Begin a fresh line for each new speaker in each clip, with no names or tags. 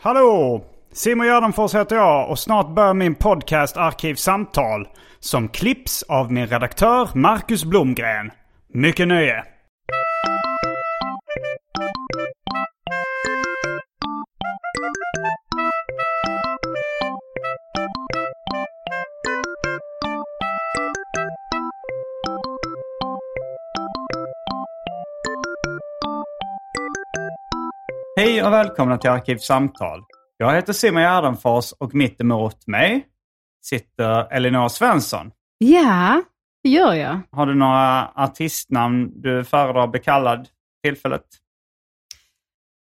Hallå! Simon Gärdenfors heter jag och snart börjar min podcast Arkivsamtal som klipps av min redaktör Marcus Blomgren. Mycket nöje! Hej och välkomna till Arkivsamtal. Jag heter Simon Gärdenfors och mitt emot mig sitter Elinor Svensson.
Ja, det gör jag.
Har du några artistnamn du föredrar att bli kallad tillfället?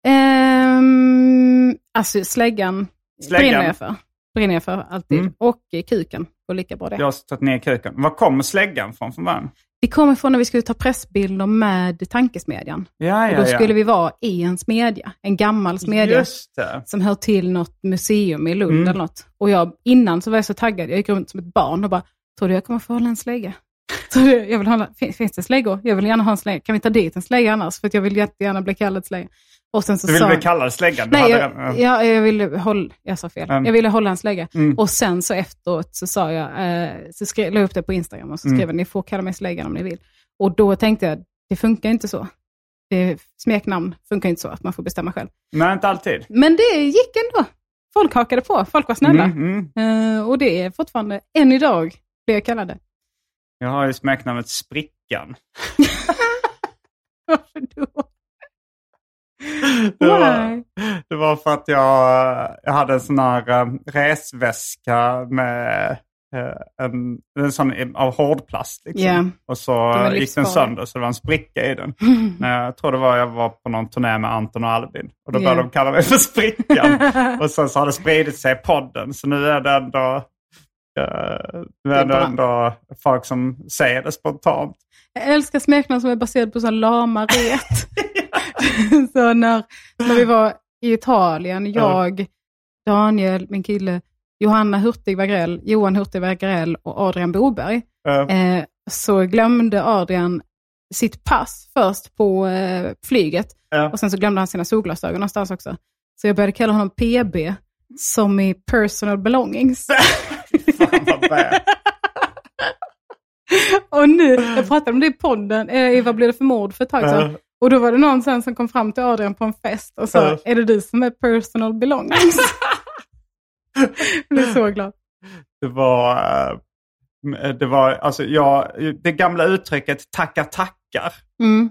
Ehm, alltså släggan,
Släggan.
brinner jag för. Brinner jag för alltid.
Mm.
Och eh, kuken, och lika bra det.
Du har tagit ner kuken. Var kommer släggan från från början?
Vi kom ifrån när vi skulle ta pressbilder med tankesmedjan.
Ja,
och då skulle vi vara i en smedja, en gammal smedja.
Just det.
som hör till något museum i Lund
Mm.
eller något. Och jag, innan så var jag så taggad, jag gick runt som ett barn och bara, tror du jag kommer få hålla en slägga? Tror du, jag vill hålla, fin- finns det släggor? Jag vill gärna ha en slägga. Kan vi ta dit en slägga annars? För att jag vill jättegärna bli kallad slägga. Och sen så
Du ville
sa
bli
han-
kallad släggan? Du
Nej,
hade
jag,
redan-
jag, jag ville hålla... Jag sa fel.
Mm.
Jag ville hålla en slägga.
Mm.
Och sen så efteråt så sa jag... Eh, så skrev, la jag upp det på Instagram och så
Mm.
skrev jag, ni får kalla mig släggan om ni vill. Och då tänkte jag, det funkar inte så. Det, smeknamn funkar inte så, att man får bestämma själv.
Nej, inte alltid.
Men det gick ändå. Folk hakade på. Folk var snälla.
Mm, mm.
Eh, och det är fortfarande, än idag, blir jag kallade.
Jag har ju smeknamnet Sprickan.
Varför då?
Det var,
Why?
det var för att jag, jag hade en sån här eh, resväska med eh, en, en sån i- av hårdplast. Liksom.
Ja.
Och så
är
eh, gick den
livsfarlig.
sönder så det var en spricka i den. När jag tror det var jag var på någon turné med Anton och Albin. Och då började
Ja.
de kalla mig för Sprickan. och sen så har det spridit sig i podden. Så nu är det ändå, eh, nu är
Det
det
är bra.
ändå folk som säger det spontant.
Jag älskar smeknamn som är baserade på så här lama ret. så när, när vi var i Italien, jag, Daniel, min kille, Johanna Hurtig Wagrell, Johan Hurtig Wagrell och Adrian Boberg,
Eh,
eh, så glömde Adrian sitt pass först på eh, flyget.
eh,
Och sen så glömde han sina solglasögon någonstans också. Så jag började kalla honom PB, som i personal belongings.
fan vad bä.
och nu, jag pratade om det i podden, eh, i Vad blir det för mord för ett tag sedan.
Eh.
Och då var det någon sen som kom fram till Adrian på en fest och sa,
Eh.
är det du som är personal belongings? jag blev så glad.
Det var, eh, det var alltså jag, det gamla uttrycket tacka tackar.
Mm.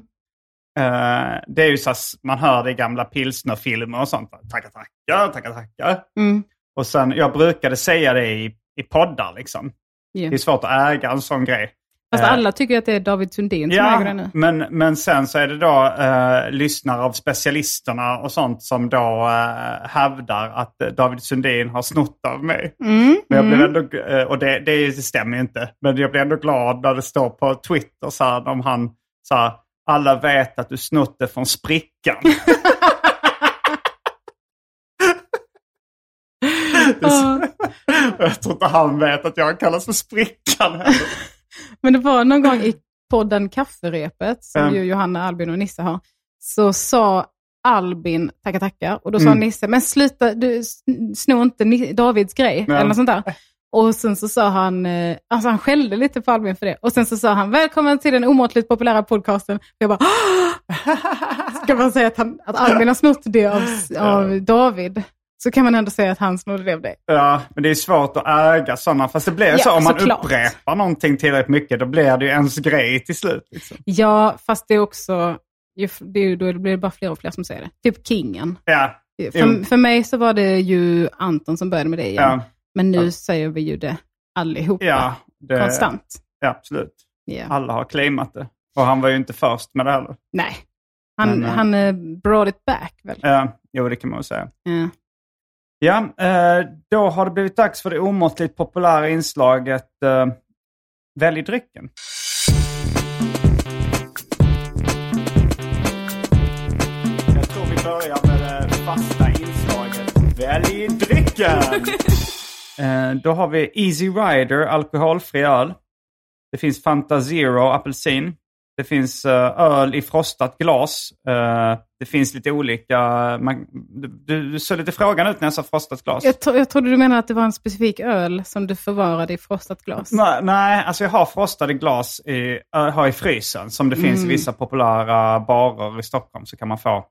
eh, det är ju så att man hör det i gamla pilsnerfilmer och sånt. Tacka tackar, tacka tackar.
Mm.
Och sen, jag brukade säga det i, i poddar liksom.
Ja.
Det är svårt att äga en sån grej.
Fast
Eh.
alla tycker ju att det är David Sundin som äger den nu.
men, men sen så är det då eh, lyssnare av specialisterna och sånt som då eh, hävdar att eh, David Sundin har snott av mig.
Mm.
Men jag
mm.
blev ändå, eh, och det, det, är ju- det stämmer ju inte, men jag blev ändå glad när det står på Twitter så här, om han så här, alla vet att du snott det från sprickan. Det är så- jag tror inte han vet att jag kallas för sprickan heller.
Men det var någon gång i podden Kafferepet, som
Mm.
ju Johanna, Albin och Nisse har, så sa Albin tacka tackar och då sa
Mm.
Nisse, men sluta, du sn- snor inte Ni- Davids grej
Ja.
eller något sånt där. Och sen så sa han, eh, alltså han skällde lite på Albin för det. Och sen så sa han, välkommen till den omåttligt populära podcasten. Och jag bara, "Ah!" ska man säga att, han, att Albin har snott det av, av David? så kan man ändå säga att han snodde det av dig.
Ja, men det är svårt att äga sådana. Fast det blir
Ja,
så om man
såklart.
upprepar någonting tillräckligt mycket, då blir det ju ens grej till slut. Liksom.
Ja, fast det är också, ju f- det är, ju- då blir det bara fler och fler som säger det. Typ kingen.
Ja,
För, för mig så var det ju Anton som började med det igen.
ja,
Men nu säger vi ju det allihopa.
ja, det,
Konstant.
ja, absolut.
Ja.
Alla har claimat det. Och han var ju inte först med det heller.
Nej. Han,
Men, eh,
han eh, brought it back väl?
Ja, jo, det kan man väl säga.
Ja.
Ja, eh, då har det blivit dags för det omåttligt populära inslaget eh, Välj drycken. Jag tror vi börjar med det fasta inslaget Välj drycken! eh, då har vi Easy Rider, alkoholfri öl. Det finns Fanta Zero, apelsin. Det finns eh, öl i frostat glas. Eh, det finns lite olika... Man, du, du, du såg lite frågan ut när jag sa frostat glas.
Jag, tro, jag trodde du menade att det var en specifik öl som du förvarade i frostat glas.
Nej, nej, alltså jag har frostade glas i, äh, har i frysen. Som det finns i vissa populära barer i Stockholm så kan man få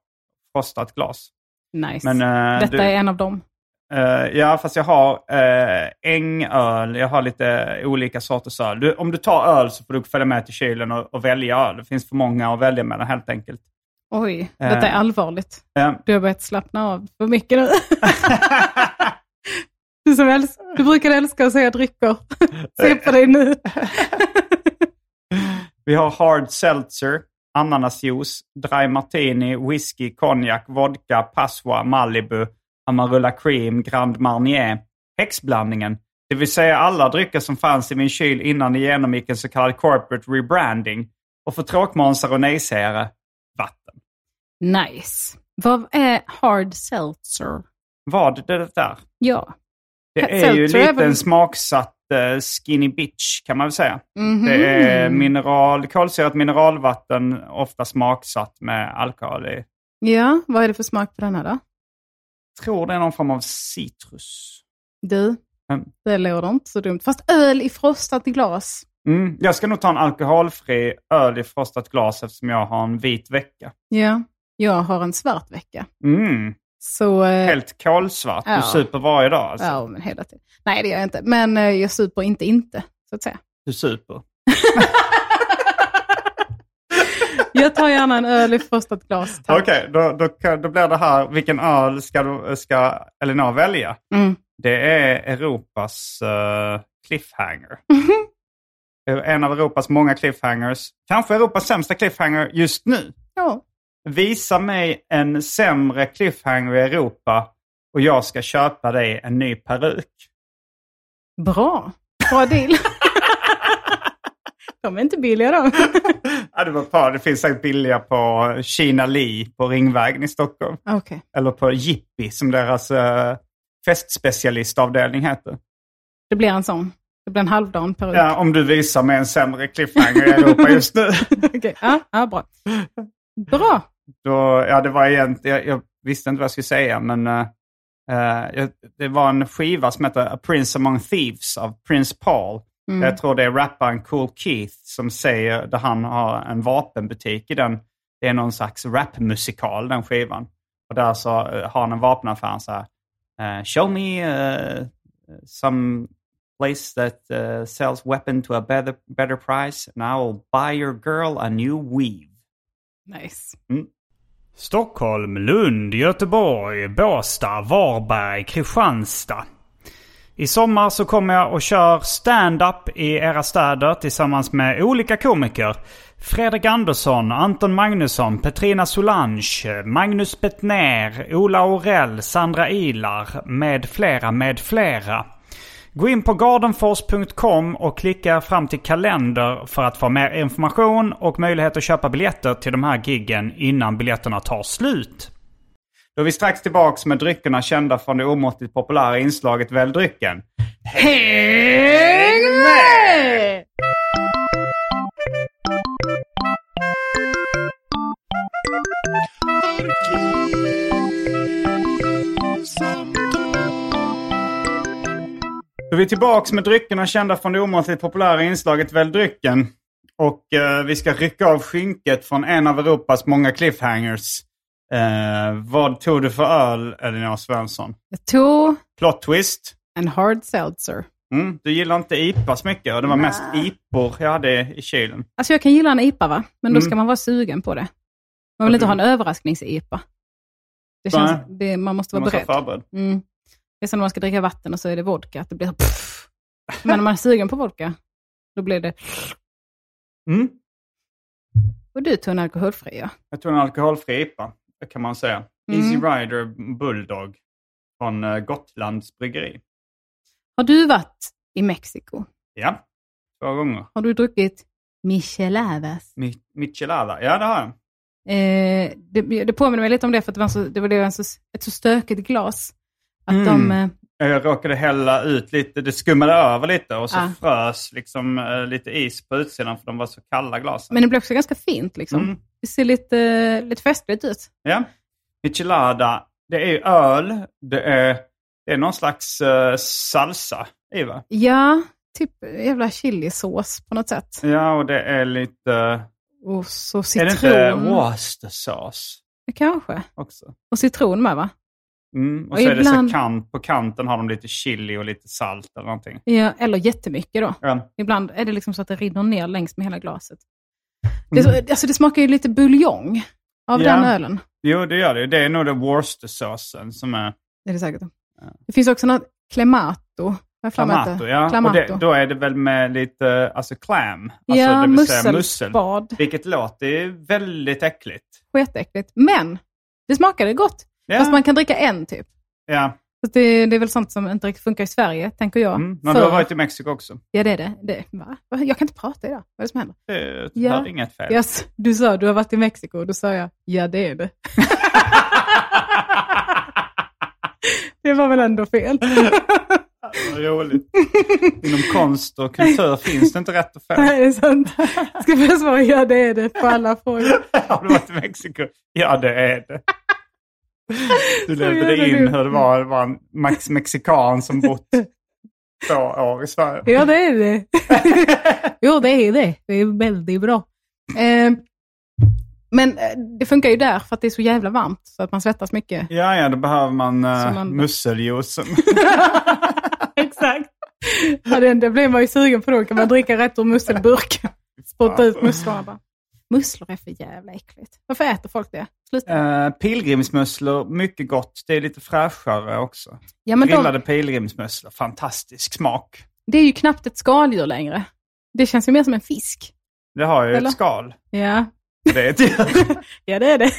frostat glas.
Nice.
Men, eh,
Detta
du-
är en av dem.
Eh, ja, fast jag har uh, ängöl. Jag har lite olika sorters öl. Du, om du tar öl så får du följa med till kylen och, och välja öl. Det finns för många att välja mellan helt enkelt.
Oj, detta är
Eh.
allvarligt.
Eh,
Du har börjat slappna av för mycket nu. du, som älsk, du brukade älska att säga drycker. Se på dig nu.
vi har hard seltzer, ananasjuice, dry martini, whisky, konjak, vodka, passoa, malibu, amarula cream, grand marnier, häxblandningen. Det vill säga alla drycker som fanns i min kyl innan det genomgick en så kallad corporate rebranding. Och för tråkmånsar och nejsägare, vatten.
Nice. Vad är hard seltzer?
Vad det där?
Ja.
Det är
Seltzer
ju
är
lite
väl-
en smaksatt eh, skinny bitch kan man väl säga.
Mhm.
Det är mineral, kolsyrat mineralvatten, ofta smaksatt med alkohol i.
Ja, vad är det för smak på den här då?
tror det är någon form av citrus.
Du,
Mm.
det låter inte så dumt. Fast öl i frostat glas.
Mm. Jag ska nog ta en alkoholfri öl i frostat glas eftersom jag har en vit vecka.
Ja, jag har en svart vecka.
Mm.
Så, eh,
Helt kolsvart.
Ja.
Du super varje dag alltså.
ja men hela tiden. Nej det gör jag inte, men eh, jag super inte inte, så att säga.
Du super.
Jag tar gärna en öl i frostat glas, tack.
Okej, då, då, kan- då blir det här. Vilken öl ska, du, ska Elinor välja?
Mm.
Det är Europas eh, cliffhanger. en av Europas många cliffhangers. Kanske Europas sämsta cliffhanger just nu.
Ja.
Visa mig en sämre cliffhanger i Europa och jag ska köpa dig en ny peruk.
Bra, bra deal. de är inte billiga de.
Ja, det var bra. Det finns säkert billiga på Kina Li på Ringvägen i Stockholm.
Okej,
Eller på Jippi som deras eh, festspecialistavdelning heter.
det blir en sån. Det blir en halvdan peruk.
Ja, om du visar mig en sämre cliffhanger i Europa just nu.
Okej, ja, ja, bra. Bra,
Då, ja, det var egentligen, jag, jag visste inte vad jag skulle säga, men eh, eh, jag, det var en skiva som heter A Prince Among Thieves av Prince Paul. Jag tror det är rapparen Cool Keith som säger, där han har en vapenbutik i den. Det är någon slags rapmusikal, den skivan. Och där så eh, har han en vapenaffär han så här. eh, Show me eh, some place that eh, sells weapon to a better, better price and I will buy your girl a new weave.
nice.
Stockholm, Lund, Göteborg, Båstad, Varberg, Kristianstad. I sommar så kommer jag och kör stand-up i era städer tillsammans med olika komiker. Fredrik Andersson, Anton Magnusson, Petrina Solange, Magnus Bettner, Ola Orell, Sandra Ilar med flera, med flera. Gå in på gardenfors.com och klicka er fram till kalender för att få mer information och möjlighet att köpa biljetter till de här giggen innan biljetterna tar slut. Då är vi strax tillbaks med dryckerna kända från det omåttligt populära inslaget Välj drycken. Häng med! Då är vi tillbaks med dryckerna kända från det omåttligt populära inslaget Välj drycken. Och eh, vi ska rycka av skynket från en av Europas många cliffhangers. Eh, vad tog du för öl, Elinor Svensson?
Jag tog
Plot twist.
en hard seltzer.
Mm, du gillar inte IPA så mycket och det var mest IPOR jag hade i kylen.
Alltså jag kan gilla en IPA, va? men då ska
Mm.
man vara sugen på det. Man vill inte ha en överrasknings-IPA. Det
Nej.
känns, det, man måste
Man
vara
måste vara
beredd.
förberedd.
Mm. Det är som när man ska dricka vatten och så är det vodka, att det blir så pff. Men om man är sugen på vodka, då blir det...
Mm.
Och du tog en alkoholfri, ja.
Jag tog en alkoholfri IPA, det kan man säga.
Mm.
Easy Rider Bulldog från eh, Gotlands bryggeri.
Har du varit i Mexiko?
Ja, två gånger.
Har du druckit micheladas?
Mi- Michelada, ja det har jag.
Eh, det, det påminner mig lite om det, för att det var, så, det var det var en så, ett så stökigt glas. Att
Mm.
de... Eh,
Jag råkade hälla ut lite, det skummade över lite och så
Ah.
frös liksom eh, lite is på utsidan för de var så kalla glasen.
men det blev också ganska fint. Liksom.
Mm.
Det ser lite, eh, lite festligt ut.
Ja. Michelada, det är ju öl, det är, det är någon slags eh, salsa i va?
Ja, typ jävla chilisås på något sätt.
Ja, och det är lite...
Och så
Mm. Är det
citron.
inte Worcestersauce
Kanske.
också?
Och citron med, va?
Mm. Och
Och
så är det
ibland-
så kant, på kanten har de lite chili och lite salt eller någonting.
Ja, eller jättemycket då.
Ja.
Ibland är det liksom så att det rinner ner längs med hela glaset. Det, alltså, det smakar ju lite buljong av
Mm. Ja.
den ölen.
Jo, det gör det. Det är nog det Worcestersaucen som är
Det är det säkert. Det finns också något Clemato. Vad är flammet
clamato.
heter?
Ja. Och
Clamato.
det, då är det väl med lite alltså clam, alltså,
ja,
det vill säga mussel.
musselspad.
Vilket låter väldigt äckligt.
Skitäckligt. Men det smakade gott.
Ja,
Fast man kan dricka en typ.
ja.
Så det, det är väl sånt som inte riktigt funkar i Sverige, tänker jag.
Mm. Men du
För-
har varit i Mexiko också.
Ja, det är det. det. Va? Va? Jag kan inte prata idag. Vad är det som händer?
Det
Ja.
är inget fel.
Yes, du sa du har varit i Mexiko. Då sa jag, ja det är det. Det var väl ändå fel.
Vad roligt. Inom konst och kultur finns det inte rätt och fel.
Nej, det är sant. Ska jag svara ja det är det på alla frågor?
Har du varit i Mexiko? Ja, det är det. Du
Så
levde
jävla
dig in
dumt.
hur det var, det var en max mexikan som bott två år i Sverige.
Ja det är det. Jo det är det. Det är väldigt bra. Eh, men eh, det funkar ju där för att det är så jävla varmt så att man svettas mycket.
Ja, ja, då behöver man,
Så
uh,
man-
musseljuicen.
Exakt. Ja, det, det blir man ju sugen på då. Kan man dricka rätt ur musselburken? Spotta ut musslorna bara. Musslor är för jävla äckligt. Varför äter folk det? Sluta.
Eh, pilgrimsmusslor, mycket gott. Det är lite fräschare också.
Ja, men
Grillade
de,
pilgrimsmusslor, fantastisk smak.
det är ju knappt ett skaldjur längre. Det känns ju mer som en fisk.
Det har ju
Eller?
ett skal.
Ja,
Det är ett...
ja det är det.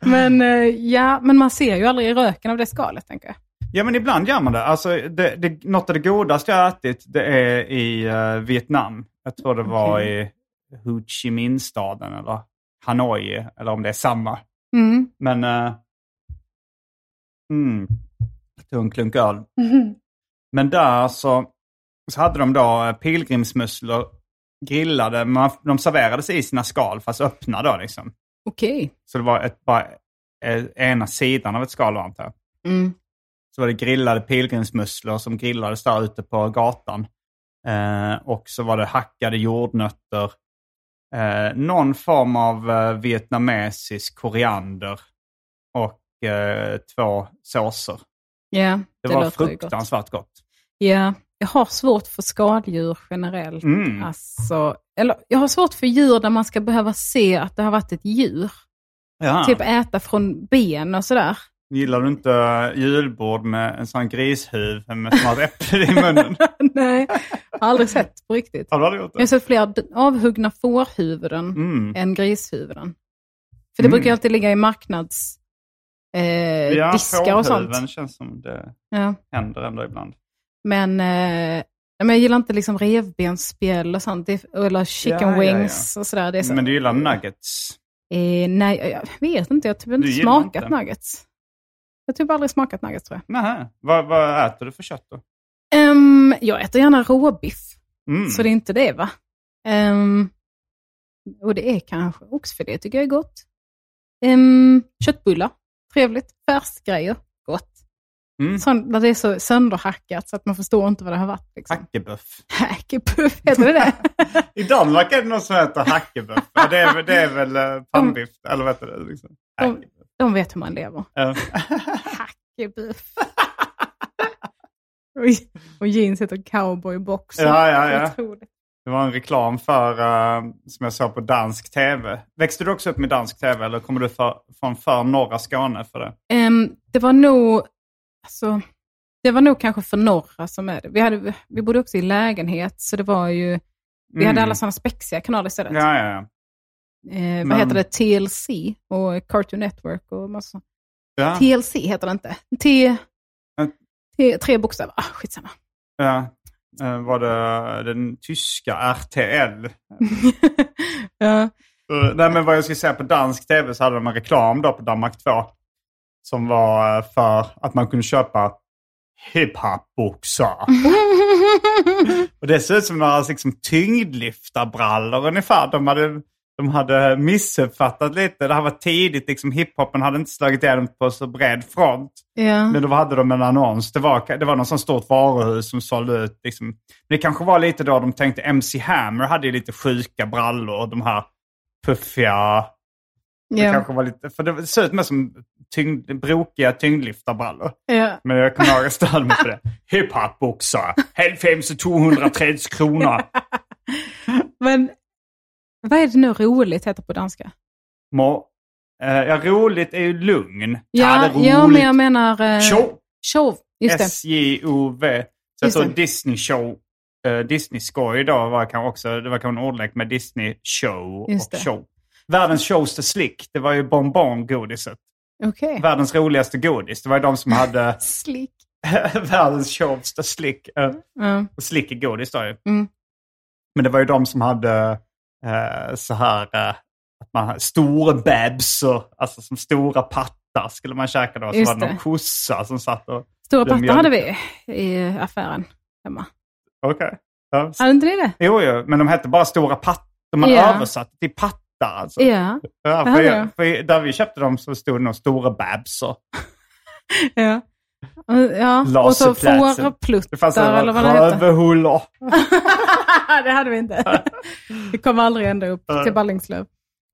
Men, eh, ja, men man ser ju aldrig röken av det skalet, tänker jag.
Ja, men ibland gör man det. Alltså, det, det något av det godaste jag har ätit det är i eh, Vietnam. Jag tror det var
Okej.
i Ho Chi Minh-staden eller Hanoi, eller om det är samma.
Mm.
Men... eh, mm, jag tog en klunk öl. Men där så, så hade de då eh, pilgrimsmusslor grillade. Man, de serverades i sina skal, fast öppna då liksom.
Okej.
Så det var ett, bara eh, ena sidan av ett skal, antar jag.
Mm.
Så var det grillade pilgrimsmusslor som grillades där ute på gatan. Eh, och så var det hackade jordnötter. Eh, någon form av eh, vietnamesisk koriander. Och eh, två såser.
Ja,
Det, var
låter ju gott.
fruktansvärt gott.
Ja, jag har svårt för skaldjur generellt.
Mm.
Alltså, eller, jag har svårt för djur där man ska behöva se att det har varit ett djur.
Ja.
Typ äta från ben och sådär.
Gillar du inte eh, julbord med en sån grishuvud med som har ett äpple i munnen?
Nej, jag har aldrig sett på riktigt.
Har du gjort
Jag har
det?
sett fler d- avhuggna fårhuvuden
Mm.
än grishuvuden. För det
Mm.
brukar ju alltid ligga i marknads... Eh,
Ja,
diskar och
fårhuvuden
sånt.
känns som det
Ja.
händer ändå ibland.
Men, eh, men jag gillar inte liksom revbensspjäll och sånt. Det, eller chicken
Ja, ja, ja.
wings och sådär. Det är så,
Men du gillar nuggets?
Eh, nej, jag- jag vet inte. Jag har typ inte
gillar
smakat
inte.
nuggets. Jag har typ aldrig smakat nuggets tror jag.
Nähä. Vad, vad äter du för kött då?
Ehm, jag äter gärna råbiff,
Mm.
så det är inte det va? Ehm, och det är kanske oxfilé tycker jag är gott. Um, köttbullar, trevligt. Färsgrejer, gott.
Mm.
Sånt där det är så sönderhackat så att man förstår inte vad det har varit. Liksom.
Hackebuff.
Hackepuff, heter det det?
I Danmark är det någon som heter hackebuff. Ja, det, är, väl- det är väl eh, pannbiff, eller vad heter det? Liksom.
De-
Hackebuff.
De vet hur man lever.
Eh,
Hackebuff. Och- och jeans heter cowboyboxer.
Ja, ja, ja.
Otroligt.
det var en reklam för, eh, som jag såg på dansk tv. Växte du också upp med dansk tv eller kommer du för, från för norra Skåne för det?
Ehm, det var nog alltså, det var nog kanske för norra som är det. Vi, hade, vi bodde också i lägenhet, så det var ju... Vi
Mm.
hade alla sådana spexiga kanaler istället.
Ja, ja, ja.
Eh, vad
Men-
heter det? TLC och Cartoon Network och massa sånt.
ja.
TLC heter det inte. T...
Ja.
T tre bokstäver. Ah, skitsamma.
Ja. Eh, Var det den tyska RTL?
ja.
Eh, Nej, men vad jag skulle säga på dansk tv så hade de en reklam då på Danmark 2. Som var eh, för att man kunde köpa hiphop-boxar.
Mm.
Och det ser ut som några liksom, tyngdlyftarbrallor ungefär. De hade, de hade missuppfattat lite. Det här var tidigt. Liksom, hiphopen hade inte slagit igenom på så bred front.
ja.
Men då hade de en annons. Det var, det var någon sån stort varuhus som sålde ut. Liksom. Men det kanske var lite då de tänkte MC Hammer hade ju lite sjuka brallor. De här puffiga. Det
ja.
kanske var lite, för det såg ut mer som tyngd, brokiga tyngdlyftarbrallor.
ja.
Men jag kommer ihåg att jag stödde mig på det. Hiphop-boxar. Helfame så 230 kronor.
Men vad är det nu roligt heter på danska?
Må, eh, ja, roligt är ju lugn.
Ja,
det är
ja men
roligt.
jag menar... eh,
Show.
Show, just det.
S-J-O-V. Så jag
Just
tror
det.
Disney show. eh, Disney skoj då var kanske också, det var kanske en ordlek med Disney show
Just
och
det.
show. Världens shows to slick, det var ju bonbongodiset.
Okej.
Världens roligaste godis, det var ju de som hade
Slick.
världens shows to slick. eh,
Ja.
och slick är godis då ju.
Mm.
Men det var ju de som hade eh, så här, eh, att man hade stora bebsor, alltså som stora pattar skulle man käka då. Så
Just
var det någon
det.
kossa som satt och...
Stora
Det är
pattar hade vi
mjölk.
i affären hemma.
Okej. Ja,
Hade inte ni det?
Jo, jo, men de hette bara stora pattar. De hade
Ja.
översatt till pattar alltså.
Ja.
Ja,
det
för,
hade
jag,
jag.
för där vi köpte dem så stod det nog stora bebsor.
ja. ja. Och så
Laserplatsen. Det fanns
fårpluttar eller vad det hette.
rövhullor.
det hade vi inte. Vi kom aldrig ända upp
Nej.
till Ballingslöv.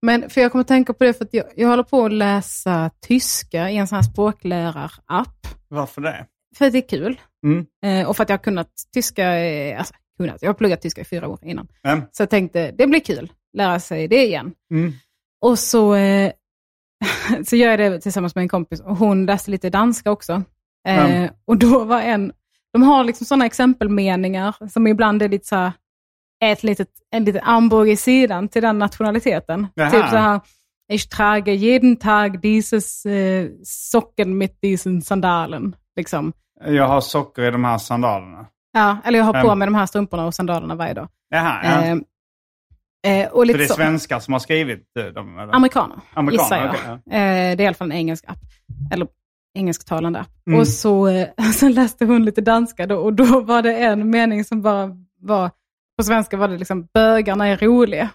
Men för jag kommer att tänka på det för att jag, jag håller på att läsa tyska i en sån här språklärarapp.
Varför det?
För att det är kul.
Mm.
Eh, och för att jag har kunnat tyska, eh, alltså, kunnat, jag har pluggat tyska i fyra år innan.
Men,
Så jag tänkte, det blir kul, lära sig det igen.
mm.
Och så, eh, så gör jag det tillsammans med en kompis och hon läste lite danska också. Eh,
Mm.
Och då var en, de har liksom sådana exempelmeningar som ibland är lite så här, ett litet, en liten armbåge i sidan till den nationaliteten.
Jaha.
Typ så här, Ich trage jeden Tag dieses eh, socken mit diesen sandalen. Liksom.
Jag har socker i de här sandalerna.
Ja, eller jag har på
Mm.
mig de här strumporna och sandalerna varje dag.
Jaha, ja.
Eh, eh, och
Så
lite
det är
så.
svenskar som har skrivit eh, dem? Eller?
Amerikaner,
Amerikaner,
gissar jag.
okej, ja.
Eh, Det är i alla fall en engelsk app. Eller engelsktalande app.
Mm.
Och så, eh, sen läste hon lite danska då, och då var det en mening som bara var, på svenska var det liksom bögarna är roliga.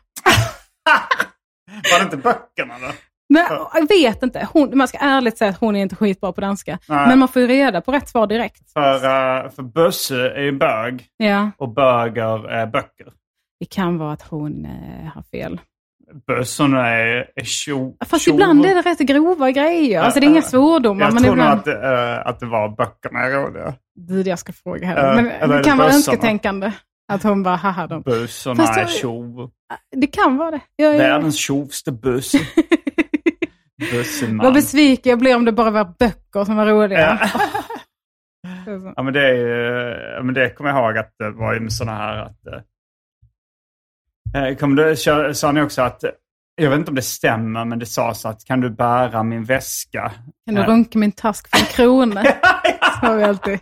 Var det inte böckerna då?
Men jag vet inte, hon, man ska ärligt säga att hon är inte skitbra på danska.
Nej.
Men man får ju reda på rätt svar direkt.
För, eh, för bösse är ju bög
Ja,
och böger är böcker.
det kan vara att hon eh, har fel.
Bössorna är, är tjo...
Fast
tjo-
ibland är det rätt grova grejer. Alltså det är
Ja,
inga
ja.
svordomar.
Jag
men
tror nog
ibland...
att, eh, att det var böckerna är roliga.
Gud, jag ska fråga
Eh,
henne. Men
eller är
det
det
kan vara
bössarna?
önsketänkande. Att hon bara, haha, de.
Bössorna
Fast
är
då-
tjov.
Det kan vara det. Jag är...
Världens tjovste bösse.
Vad
Bösseman.
besviken jag blir om det bara var böcker som var roliga.
Ja.
Det är så.
Ja, men det, är, ju- ja, men det kommer jag ihåg att det var ju med sådana här att... eh, Kom du, kö- sa ni också att, jag vet inte om det stämmer, men det sades att kan du bära min väska?
Kan du
Ja.
runka min task för en krona? Så har vi alltid.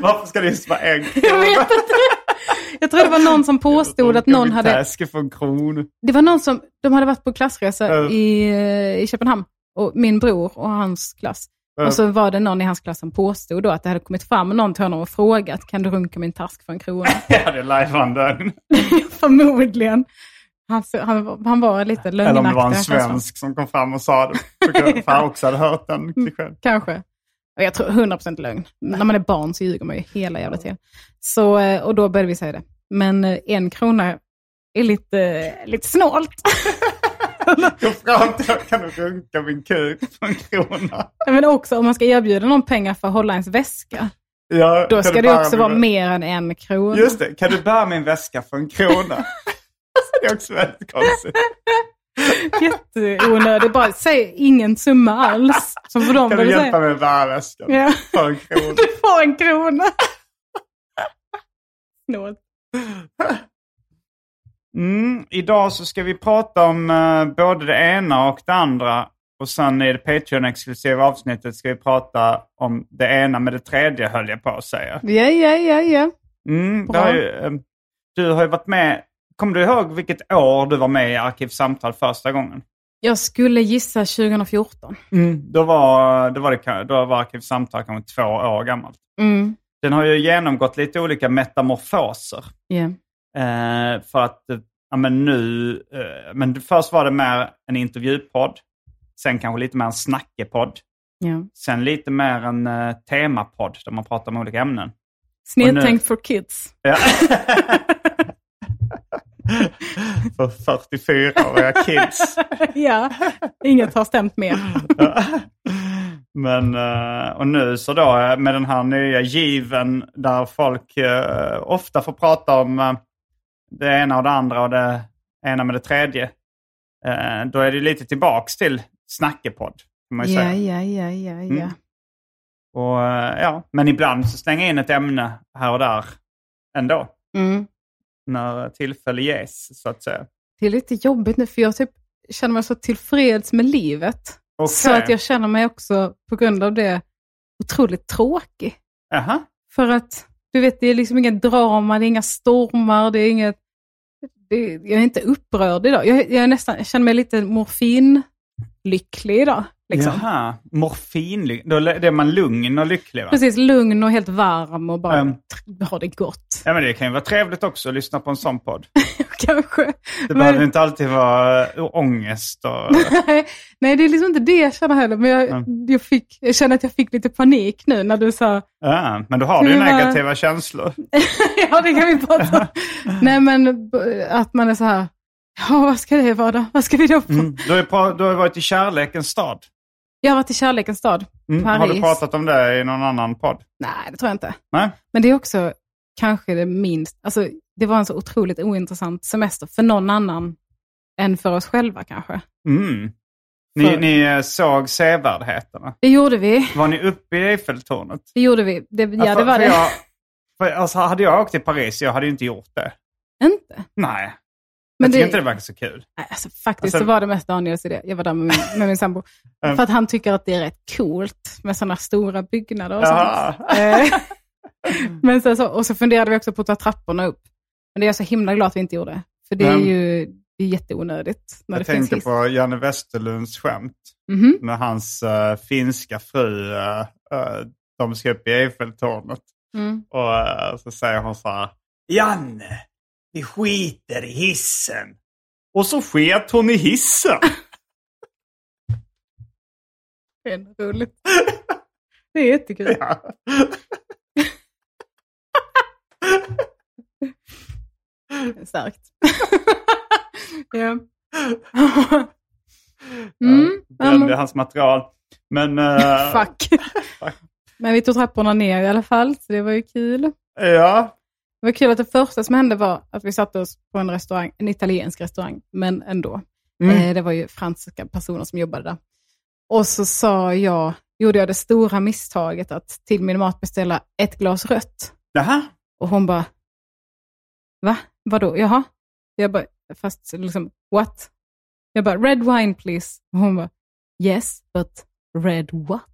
Varför ska det just vara en
Jag vet inte. Jag tror det var någon som påstod att någon hade...
Täske från kron.
Det var någon som... De hade varit på klassresa
Ja.
i, eh, i Köpenhamn. Och min bror och hans klass.
Ja.
Och så var det någon i hans klass som påstod då att det hade kommit fram någon till honom och frågat kan du runka min task för en krona?
Ja, det är lajvanden.
Förmodligen. Han, han, var- han var lite lögnaktig.
Eller om det var en
jag kan säga.
svensk som kom fram och sa det. För att jag också hade hört den
Mm.
klichén.
Kanske. Och Jag tror 100% lögn. När man är barn så ljuger man ju hela jävla tiden. Så, eh, och då eh, började vi säga det. Men eh, en krona är lite, lite snålt.
Gå fram till jag kan du runka min kuk för en krona?
Men också om man ska erbjuda någon pengar för att hålla ens väska.
Ja,
Då
kan
ska
du
det ju
bära
också
min
vara
vä-
mer än en krona.
Just det, kan du bära min väska för en krona? det är också väldigt konstigt.
Jätteonödigt. Bara säg ingen summa alls. Så får de
Kan du
väl
hjälpa
säga.
mig att bära väskan
Ja.
för en krona?
Du får en krona. Snålt.
Mm, idag så ska vi prata om eh, både det ena och det andra. Och sen i det Patreon-exklusiva avsnittet ska vi prata om det ena med det tredje, höll jag på att säga.
Ja, ja, ja, ja.
Mm, det
Bra.
har ju, eh, du har ju varit med. Kommer du ihåg vilket år du var med i Arkivsamtal första gången?
Jag skulle gissa 2014.
Då var, då var, det, ka- då var Arkivsamtal kanske två år gammalt.
Mm.
Den har ju genomgått lite olika metamorfoser.
ja.
Eh, för att eh, ja, men nu, eh, men först var det mer en intervjupodd. Sen kanske lite mer en snackepodd.
ja.
Sen lite mer en eh, temapodd där man pratar om olika ämnen.
Snedtänkt for kids.
Ja. för 44-åriga kids.
ja, inget har stämt mer.
Men, eh, och nu så då eh, med den här nya given där folk eh, ofta får prata om eh, det ena och det andra och det ena med det tredje. Eh, Då är det lite tillbaks till snackepodd. Kan man ju
Ja,
säga.
ja, ja, ja, ja.
Mm. Och, eh, ja. Men ibland så slänger jag in ett ämne här och där ändå.
Mm.
När tillfälle ges så att säga.
Det är lite jobbigt nu, för jag typ känner mig så tillfreds med livet.
Okej.
Så att jag känner mig också, på grund av det, otroligt tråkig.
Aha.
För att, du vet, det är liksom inget drama, det är inga stormar, det är inget... Det, jag är inte upprörd idag. Jag, jag, är nästan, jag känner mig lite morfinlycklig idag. Liksom.
Jaha, morfin. Då är man lugn och lycklig va?
Precis, lugn och helt varm och bara
Ehm.
tr- ha det gott.
Ja, men det kan ju vara trevligt också att lyssna på en sån podd.
Kanske.
Det
Men-
behöver inte alltid vara eh, ångest. Och...
Nej, nej, det är liksom inte det jag känner heller. Men jag,
Mm.
jag, fick, jag känner att jag fick lite panik nu när du sa,
Ja, men då har du ju
Skulle vara-
negativa känslor.
ja det kan vi prata om. nej men b- att man är så här, ja vad ska det vara då? Vad ska vi då på?
Mm. Du har, ju pra- du har ju varit i kärlekens stad.
Jag har varit i kärlekens stad,
Mm.
Paris.
Har du pratat om det i någon annan podd?
Nej, det tror jag inte.
Nej?
Men det är också kanske det minst, alltså det var en så otroligt ointressant semester för någon annan än för oss själva kanske.
Mm. Ni,
För-
ni eh, såg sevärdheterna.
Det gjorde vi.
Var ni uppe i Eiffeltornet?
Det gjorde vi. Det, ja,
för,
det var
för
det.
Jag, för, alltså, hade jag åkt till Paris, jag hade ju inte gjort det.
Inte.
Nej,
Men
jag tycker
det-
inte det verkar så kul.
Nej, alltså, faktiskt
Alltså-
så var det mest Daniels idé. Jag var där med min, med min sambo.
Mm.
För att han tycker att det är rätt coolt med sådana stora byggnader och sånt.
Jaha.
Eh, Men sen så, och så funderade vi också på att ta trapporna upp. Men det är jag så himla glad att vi inte gjorde. För det är
Mm.
ju det är jätteonödigt när
Jag
det finns
tänkte
hiss.
på Janne Westerlunds skämt.
Mhm.
med hans eh, finska fru. eh, eh, de ska upp i Eiffeltornet.
Mm.
Och eh, så säger hon så här. Janne, vi skiter i hissen. Och så sket hon i hissen.
Det är ändå roligt. Det är jättekul.
Ja.
Starkt. ja. Mm.
Ja,
Ja,
det
men-
är hans material. Men, eh,
Fuck.
Fuck.
Men vi tog trapporna ner i alla fall, så det var ju kul.
ja.
Det var kul att det första som hände var att vi satte oss på en restaurang, en italiensk restaurang, men ändå.
Mm.
Eh, det var ju franska personer som jobbade där. Och så sa jag, gjorde jag det stora misstaget att till min mat beställa ett glas rött.
Jaha.
Och hon bara, va? Vadå? Jaha? Jag bara, fast liksom, what? Jag bara, red wine please. Och hon bara, yes, but red what?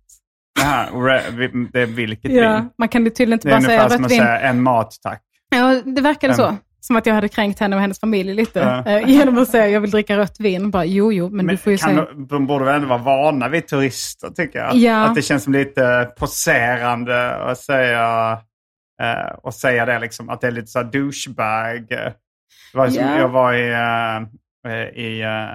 Jaha. re- vi- Det är vilket
Ja,
vin.
man kan ju tydligen inte
Det är
bara
ungefär
säga
som
rött
att
vin.
säga en mat tack.
Ja, det verkade
Mm.
så. Som att jag hade kränkt henne och hennes familj lite.
Ja.
Eh, Genom att säga jag vill dricka rött vin. Bara, jo, jo, men, du får ju
kan
säga...
de, de borde väl ändå vara vana vid turister tycker jag.
Ja.
Att det känns som lite poserande att säga, eh, och säga det liksom. Att det är lite så här douchebag. Det var ju som,
Ja.
Jag var i, eh, eh, i, eh,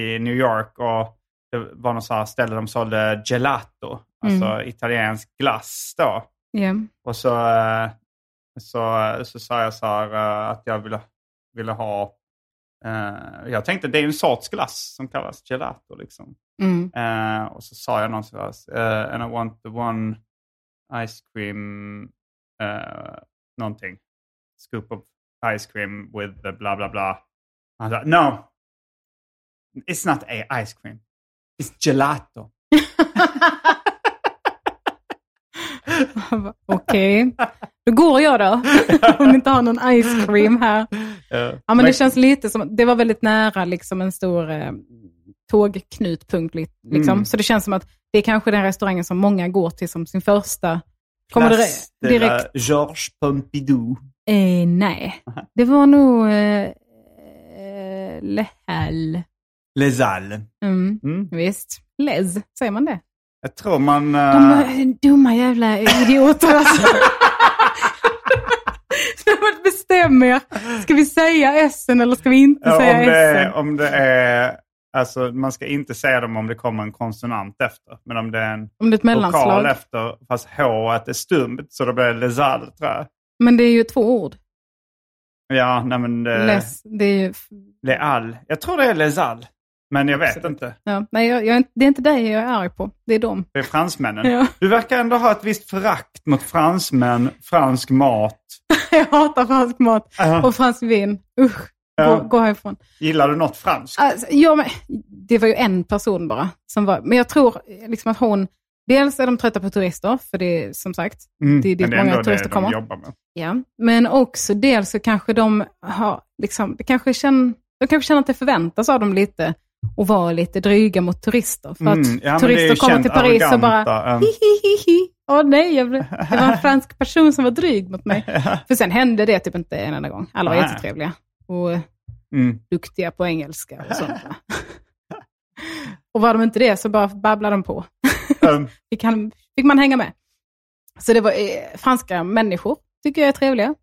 i New York och det var någon så här ställe de sålde gelato. Alltså
Mm.
italiensk glass då.
Ja.
Och så, eh, så, så sa jag så här eh, att jag ville, ville ha Eh, jag tänkte det är ju en sorts glass som kallas gelato. Liksom.
Mm.
Eh, och så sa jag någonstans, uh, and I want the one ice cream, uh, någonting. Scoop of ice cream with the bla bla bla. Han sa, no, it's not a ice cream, it's gelato.
Han bara, Okej, då går jag då. Om ni inte har någon ice cream här.
Eh,
Ja, men det känns lite som, det var väldigt nära liksom en stor eh, tågknutpunkt. li- Liksom.
Mm.
Så det känns som att det är kanske den restaurangen som många går till som sin första. Kommer det
Place
re-
de la
direkt?
Georges Pompidou.
Eh, nej, det var nog eh, eh, Le Hall.
Les Halles.
Mm,
Mm.
visst. Les, säger man det?
Jag tror man... eh,
De är dumma jävla idioter alltså. Nej, men Bestäm er. Ska vi säga S eller ska vi inte
Ja,
säga
om, det
S?
är, om det är... Alltså, man ska inte säga dem om det kommer en konsonant efter. Men om det är en
Om det är ett
vokal
mellanslag.
efter, fast H är stumt, så då blir det lesal, tror jag.
Men det är ju två ord.
Ja, nej men... Det,
Less, det är ju...
Leal. Jag tror det är lesal, men jag vet
Absolut.
inte.
Ja, nej, jag, jag, är inte- det är inte dig jag är arg på. Det är dem.
Det är fransmännen.
Ja.
Du verkar ändå ha ett visst förakt mot fransmän, fransk mat.
Jag hatar fransk mat
Ja.
och fransk vin. Usch,
Ja.
gå, gå härifrån.
Gillar du något franskt?
Alltså, ja, men, det var ju en person bara. Som var, men jag tror liksom att hon... Dels är de trötta på turister, för det är som sagt,
Mm,
det är dit
men det är
många
ändå det
turister
de
kommer.
jobbar med.
Ja, men också dels så kanske de har, liksom, det kanske känner, de kanske känner att det förväntas av dem lite och vara lite dryga mot turister. För
Mm,
att
ja, men det är ju
turister kommer
känt alltså.
till Paris och
arroganta,
bara
ja.
hi, hi, hi, hi. Åh nej, jag blev, det var en fransk person som var dryg mot mig.
eh,
För sen hände det typ inte en enda gång. Alla var
Nej.
jättetrevliga och eh,
Mm.
duktiga på engelska och sånt. va. och var de inte det så bara babblade de på.
Ehm,
fick, han, fick man hänga med. Så det var eh, franska människor, tycker jag är trevliga.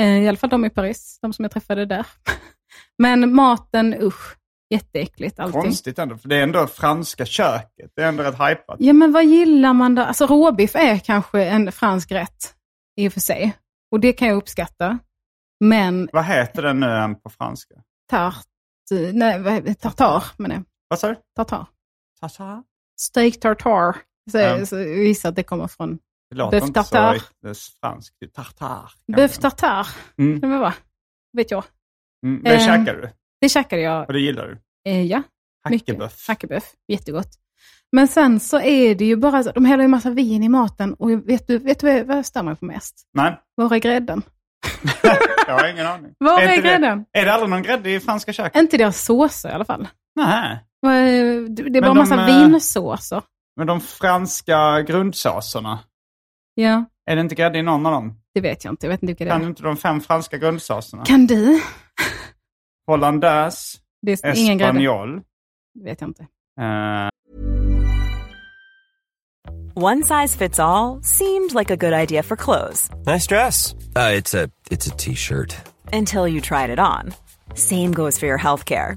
Eh, I alla fall de i Paris, de som jag träffade där. Men maten, usch, jätteäckligt allting.
Konstigt ändå, för det är ändå franska köket. Det är ändå rätt hajpat.
Ja, men vad gillar man då? Alltså råbiff är kanske en fransk rätt i och för sig. Och det kan jag uppskatta. Men
Vad heter den nu än på franska?
tart, eh, nej, vad- tartar menar jag.
Vad sa du?
Tartar.
Tata?
Steak tartar. Så,
Ja.
så jag gissar att det kommer från
Det låter
Bœuf
inte så
tartare.
riktigt franskt. Det är Tartar. kanske.
bœuf tartar.
Mm.
Men vad vet jag.
Mm. Det
Ehm.
käkar du
Det käkade jag
och det gillar du.
Eh, ja, mycket.
Hackeböff.
Hackeböff. Jättegott. Men sen så är det ju bara så, de häller ju massa vin i maten och jag- vet du, vet du vad jag- vad jag stör mig på mest?
Nej,
Var är grädden?
jag har ingen aning.
Var är,
inte det-
grädden?
Är det aldrig någon grädde i franska köket?
Inte deras såser i alla fall.
Nej.
Vad är- Det det är
Men
bara
de,
massa
eh,
vinsåser.
Men de franska grundsåserna,
Ja,
är det inte grädde i någon av dem?
det vet jag inte. Jag vet inte vilka det
Kan du
är.
inte de fem franska grundsåserna?
Kan du?
Hollandaise,
Det är ingen grädde.
espanjol,
Det vet jag inte.
eh,
One size fits all seemed like a good idea for clothes
Nice dress. Uh, it's a it's a t-shirt.
until you tried it on. Same goes for your healthcare.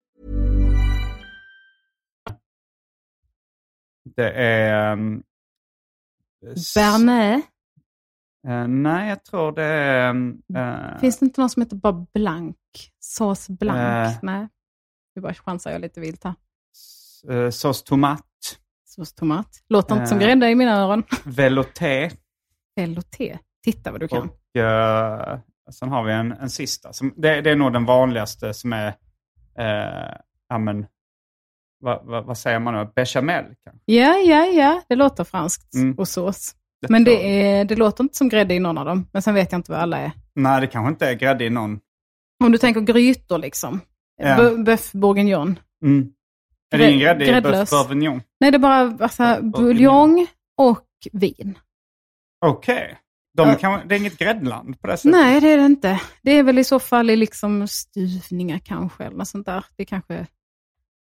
det är... Um,
Bernet.
Eh, nej, jag tror det är... eh,
Finns det inte någon som heter bara blank? Sås blank?
Eh.
Nej. Nu bara chansar jag lite vilt här.
eh, sås tomat,
Sås tomat. Låter inte som
Eh.
grädde i mina öron.
velouté
Velouté. Titta vad du kan.
och eh, sen har vi en, en sista. Som, det, det är nog den vanligaste som är, eh, ja men, vad, vad, vad säger man nu, bechamel kanske?
Ja, ja, ja. Det låter franskt.
Mm.
Och sås.
Det
Men
tror
det, är, det låter inte som grädde i någon av dem. Men sen vet jag inte vad alla är.
Nej, det kanske inte är grädde i någon.
Om du tänker grytor liksom.
Ja.
Yeah. Bœuf bourguignon.
Mm. Är det ingen
Grä-
grädde i
gräddlös.
bœuf bourguignon?
Nej, det är bara alltså, buljong och vin.
Okej. De
Ja.
kan- Det är inget gräddland på det sättet?
Nej, det är det inte. Det är väl i så fall i liksom stuvningar kanske, eller något sånt där. Det kanske...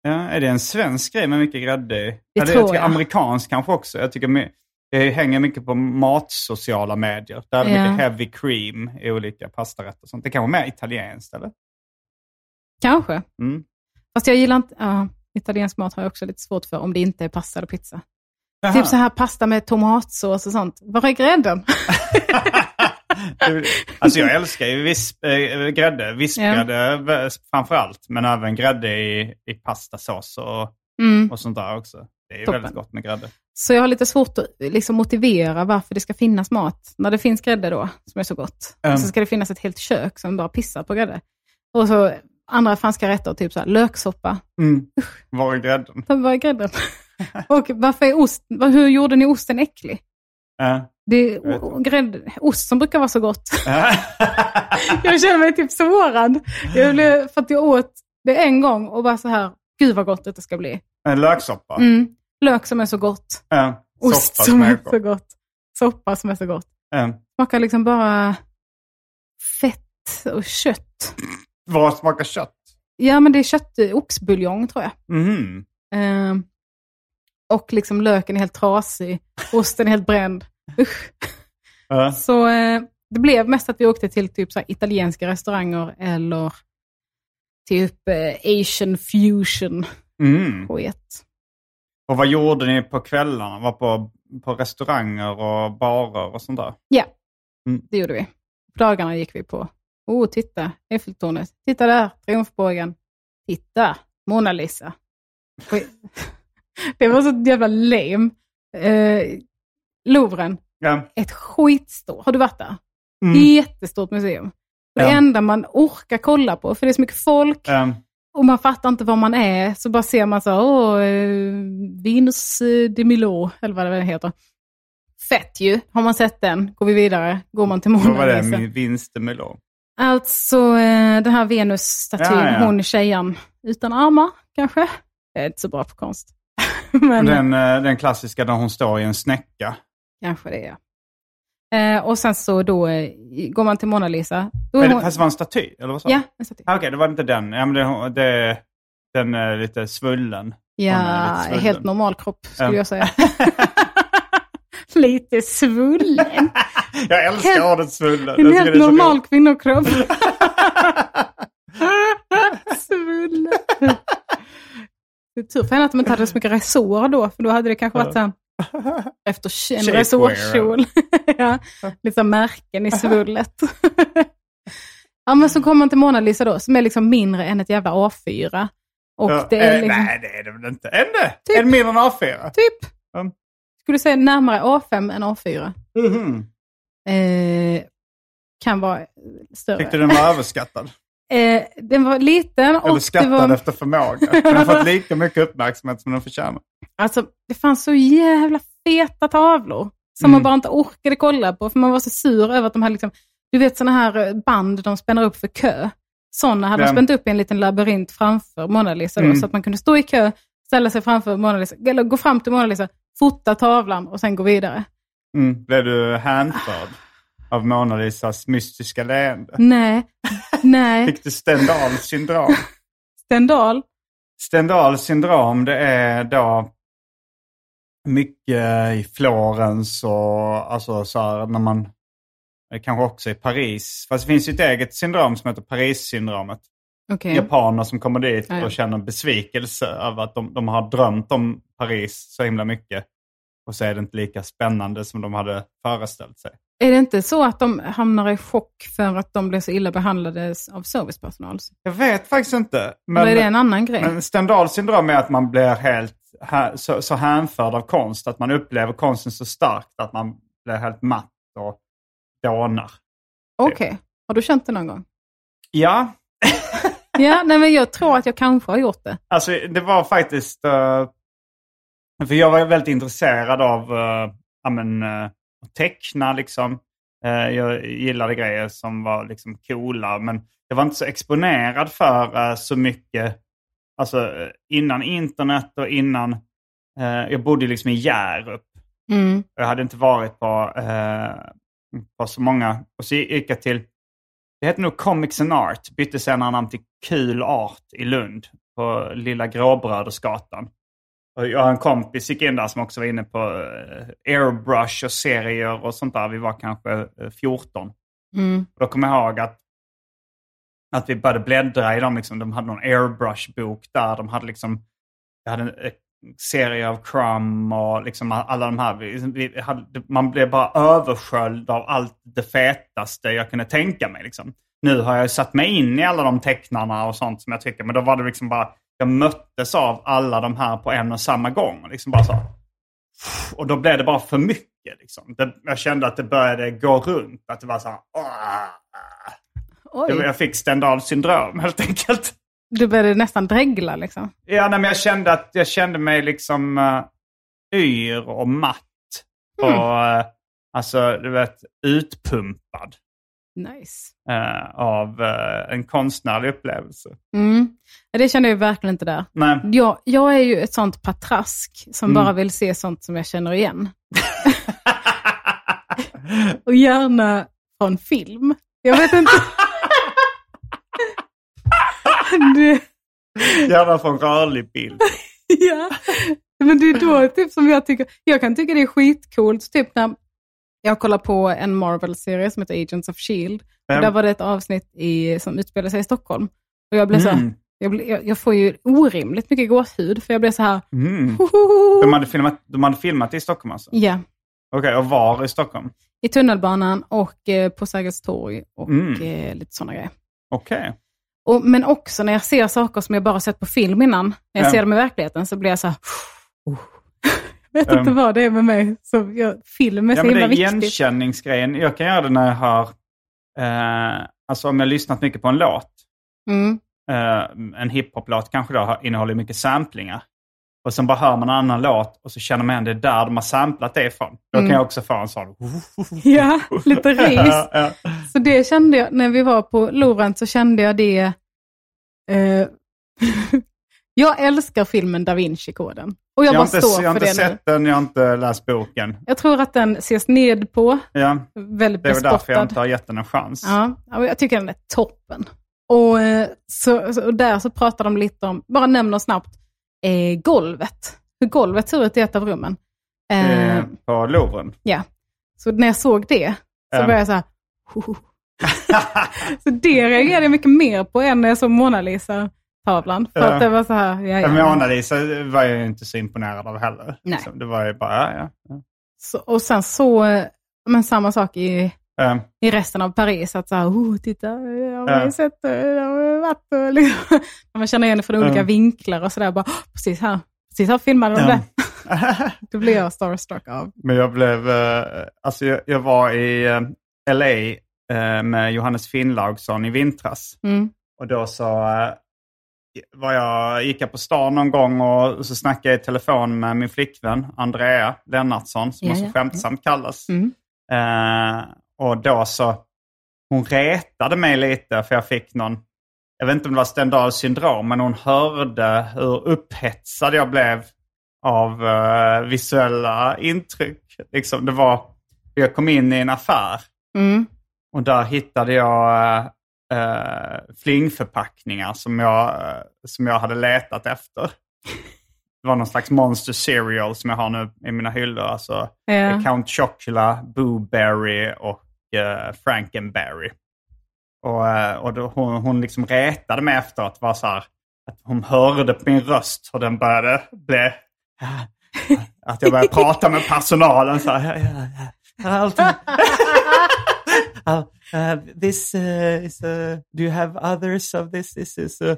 Ja, är det en svensk grej med mycket grädde i? Eller
tror
tycker
jag.
Amerikansk kanske också. Jag tycker my- det hänger mycket på matsociala medier. Där är det
Ja.
mycket heavy cream i olika pastarätter och sånt. Det kanske är mer italienskt
Typ
eller?
Kanske.
Mm.
Fast jag gillar inte... Ja, italiensk mat har jag också lite svårt för, om det inte är pasta eller pizza.
Jaha.
Typ så här pasta med tomatsås och sånt. Var är grädden?
Alltså jag älskar ju visp, eh, grädde, vispgrädde yeah. framförallt. Men även grädde i, i pastasås och,
Mm.
och sånt där också. Det är ju
Toppen.
väldigt gott med grädde.
Så jag har lite svårt att liksom motivera varför det ska finnas mat när det finns grädde då, som är så gott.
Mm.
Så ska det finnas ett helt kök som bara pissar på grädde. Och så andra franska rätter, typ så här, löksoppa.
Mm. Var är grädden?
Men Var är grädden? Och varför är ost, vad- hur gjorde ni osten äcklig?
Eh,
Det är
vet
o- grädd, ost som brukar vara så gott.
eh.
Jag känner mig typ sårad. Jag blev, för att jag åt det en gång och bara så här, gud vad gott det ska bli.
En löksoppa.
Mm. Lök som är så gott.
Eh,
Ost
soppa
som är
gott.
så gott. Soppa som är så gott.
Eh,
Smakar liksom bara fett och kött.
Vad smakar kött?
Ja, men det är kött, eh, oxbuljong tror jag.
Mhm.
Ehm, och liksom löken är helt trasig. Osten är helt bränd. Usch.
Ja.
Så eh, det blev mest att vi åkte till typ så här italienska restauranger eller typ eh, asian fusion
Mm.
på ett.
Och vad gjorde ni på kvällarna? Var på, på restauranger och barer och sånt där?
Ja,
Mm.
det gjorde vi. På dagarna gick vi på, oh titta, Eiffeltornet. Titta där, Triumfbågen. Titta, Mona Lisa. Och- det var så jävla lame. Eh, Louvren,
Ja.
ett skitstort, har du varit där?
Äh, Mm.
Jättestort museum. Det
Ja.
enda man orkar kolla på, för det är så mycket folk,
Ehm,
och man fattar inte var man är, så bara ser man så här, åh, eh, Venus eh, de Milo, eller vad det heter. Fett ju, har man sett den, går vi vidare, går man till
vad
Mona
var det?
Lisa.
Min vinst i Melon.
Alltså eh, den här Venus-statyn,
Ja, ja.
hon tjejen utan armar kanske. Jag är inte så bra på konst. Men
Den, eh, den klassiska där hon står i en snäcka.
kanske det är. Eh, och sen så då eh, går man till Mona Lisa. Då
Men
är
det
hon...
fast det var en staty? Eller vad sa
Ja,
du?
en staty.
Ah, Okej, det var inte den. Ja, men det, det, den är lite svullen.
Ja,
Hon är lite svullen.
helt normal kropp skulle
Ja.
jag säga. Lite svullen.
Jag älskar
Helt-
ordet svullen.
En
Jag tycker
helt
det är så
normal
roligt.
kvinnokropp. Svullen. Det är tur för henne att de inte hade så mycket resår då, för då hade det kanske varit så här, efter k- en
Shapewear.
resårkjol. ja, lite så här märken i svullet. ja, men så kommer man till Mona Lisa då, som är liksom mindre än ett jävla A4. Och
Ja,
det är
eh,
liksom,
Nej, det är det väl inte. Ändå!
Typ.
En mindre än A4.
typ,
Mm.
skulle säga närmare A5 än A4. Mm-hmm.
Mhm.
Eh, kan vara större.
Tyckte den var överskattad?
Eh, den var liten och
Eller
det
skattad
var...
efter förmåga. Den har fått lika mycket uppmärksamhet som den förtjänar.
Alltså, det fanns så jävla feta tavlor som man
Mm.
bara inte orkade kolla på, för man var så sur över att de hade liksom, du vet sådana här eh, band de spänner upp för kö. Sådana hade de
Ja.
spänt upp i en liten labyrint framför Mona Lisa då,
Mm.
så att man kunde stå i kö, ställa sig framför Mona Lisa, eller gå fram till Mona Lisa, fota tavlan och sen gå vidare.
Mm. Blev du hänförd av Mona Lisas mystiska leende?
Nej, nej.
Fick du Stendahls syndrom?
Stendal,
Stendahls syndrom det är då mycket i Florens och alltså så här när man eh, kanske också i Paris. Fast det finns ju ett eget syndrom som heter Paris-syndromet.
okej.
japaner som kommer dit
Ja, ja.
och känner besvikelse över att de, de har drömt om Paris så himla mycket. Och så är det inte lika spännande som de hade föreställt sig.
Är det inte så att de hamnar i chock för att de blev så illa behandlade av servicepersonal?
Jag vet faktiskt inte.
Eller är det en annan grej?
Men Stendahls syndrom är att man blir helt hä- så, så hänförd av konst. Att man upplever konsten så starkt att man blir helt matt och dånar.
Okej, har du känt det någon gång?
Ja,
Ja, nej, men jag tror att jag kanske har gjort det.
Alltså det var faktiskt... eh, för jag var väldigt intresserad av eh, ja, men, eh, att teckna liksom. Eh, jag gillade grejer som var liksom coola. Men jag var inte så exponerad för eh, så mycket. Alltså eh, innan internet och innan... eh, jag bodde liksom i Hjärup.
Mm.
Jag hade inte varit på, eh, på så många. Och så gick jag till, det hette nog Comics and Art, bytte senare namn till Kul Art i Lund på Lilla Gråbrödersgatan. Och jag har en kompis gick in där som också var inne på eh, airbrush och serier och sånt där. Vi var kanske eh, 14.
Mm.
Och då kommer jag ihåg att, att vi började bläddra i dem. Liksom, de hade någon airbrush-bok där. De hade liksom jag hade en eh, serie av Crumb och liksom a- alla de här. Vi- Vi hade, man blev bara översköljd av allt det fetaste jag kunde tänka mig. Liksom. Nu har jag satt mig in i alla de tecknarna och sånt som jag tycker, men då var det liksom bara, jag möttes av alla de här på en och samma gång. Och Liksom bara så, och då blev det bara för mycket. Liksom. Det, jag kände att det började gå runt, att det var så här, "Åh." jag,
Oj,
jag fick Stendhals syndrom helt enkelt.
du började nästan dregla liksom.
Ja, nej, men jag kände att jag kände mig liksom uh, yr och matt. Och
Mm.
eh, alltså, du vet, utpumpad
Nice.
eh, av eh, en konstnärlig upplevelse.
Mm. Ja, Det känner jag verkligen inte där.
Nej.
Jag, jag är ju ett sånt patrask som
Mm.
bara vill se sånt som jag känner igen. och gärna från film. Jag vet inte. det,
Gärna från rörlig bild.
ja. Men det är då typ som jag tycker, jag kan tycka det är skitcoolt, typ när jag kollar på en Marvel-serie som heter Agents of Shield. E Och
Vem?
där var det ett avsnitt i, som utspelade sig i Stockholm. Och jag blev så här,
Mm.
jag, blev- jag, jag får ju orimligt mycket gåshud, för jag blev så här,
Mm.
"Hohoho."
De, hade filmat, de hade filmat i Stockholm alltså?
ja,
Okej, och var i Stockholm?
i tunnelbanan och eh, på Sergels torg och
Mm.
eh, lite sådana grejer.
Okej.
Och, men också när jag ser saker som jag bara sett på film innan, när jag
Ja.
ser dem i verkligheten, så blir jag så här, "Oh." jag vet
Ja.
inte vad det är med mig. Så jag, film är
Ja,
så
men det
himla
är
viktigt.
igenkänningsgrejen. Jag kan göra det när jag har, eh, alltså om jag har lyssnat mycket på en låt.
Mm.
eh, en hiphop-låt kanske då har- innehåller mycket samplingar. Och sen bara hör man en annan låt och så känner man igen det är där de har samplat det ifrån. Då
Mm.
kan jag också få en sån...
Ja, lite
Ja,
ris.
ja.
Så det kände jag, när vi var på Lorent så kände jag det... Eh, jag älskar filmen Da Vinci-koden. Och
Jag
jag,
har
bara
inte,
står
jag har
för det
inte
nu.
sett den, jag har inte läst boken.
Jag tror att den ses ned på,
Ja,
väldigt
det är väl därför jag
bespottad.
inte har gett den en chans.
Ja, ja, men jag tycker den är toppen. Och, eh, så, så- och där så pratar de lite om, bara nämner snabbt, eh, golvet. Hur golvet ser ut i ett av rummen. Eh,
Eh, på Louvren.
Ja. Så när jag såg det så
Ehm.
började jag så här, "Hoho." Så det reagerade jag mycket mer på än när jag såg Mona Lisa-tavlan. För
Ja.
att det var så här, ja,
Ja.
ja.
Mona Lisa var jag ju inte så imponerad av heller.
Nej.
Så Det var ju bara, ja, ja, ja.
Så, och sen så, eh, men samma sak i,
Eh,
i resten av Paris. Att så här, oh, titta, jag har
Ja.
ju sett det, jag har varit där", liksom. När man känner igen det från olika
Ja.
vinklar och sådär. Bara, "Åh, precis här, precis här filmade de
Ja.
det.
ehm.
Då blir jag starstruck av.
Men jag blev, eh, alltså jag, jag var i eh, LA eh, med Johannes Finnlaugsson i vintras.
Mm.
Och då så eh, var jag, gick jag på stan någon gång och så snackade jag i telefon med min flickvän Andrea Lennartsson, som
Ja,
hon så
ja.
skämtsamt kallas.
Mm.
Eh, och då så, hon retade mig lite för jag fick någon, jag vet inte om det var Stendhals syndrom, men hon hörde hur upphetsad jag blev av eh, visuella intryck. Liksom, det var, jag kom in i en affär
Mm.
och där hittade jag eh, eh, flingförpackningar som jag, eh, som jag hade letat efter. Det var någon slags monster cereal som jag har nu i mina hyllor. Alltså
Ja.
eh, Count Chocula, Boo Berry och eh, Frankenberry. Och, eh, och då, hon, hon liksom retade mig efter att vara så här, att hon hörde på min röst och den började bli... Att jag började prata med personalen så här. "Ja, ja, ja, ja, allt-
uh,
eh,
uh, this uh, is, uh, do you have others of this? this is, uh,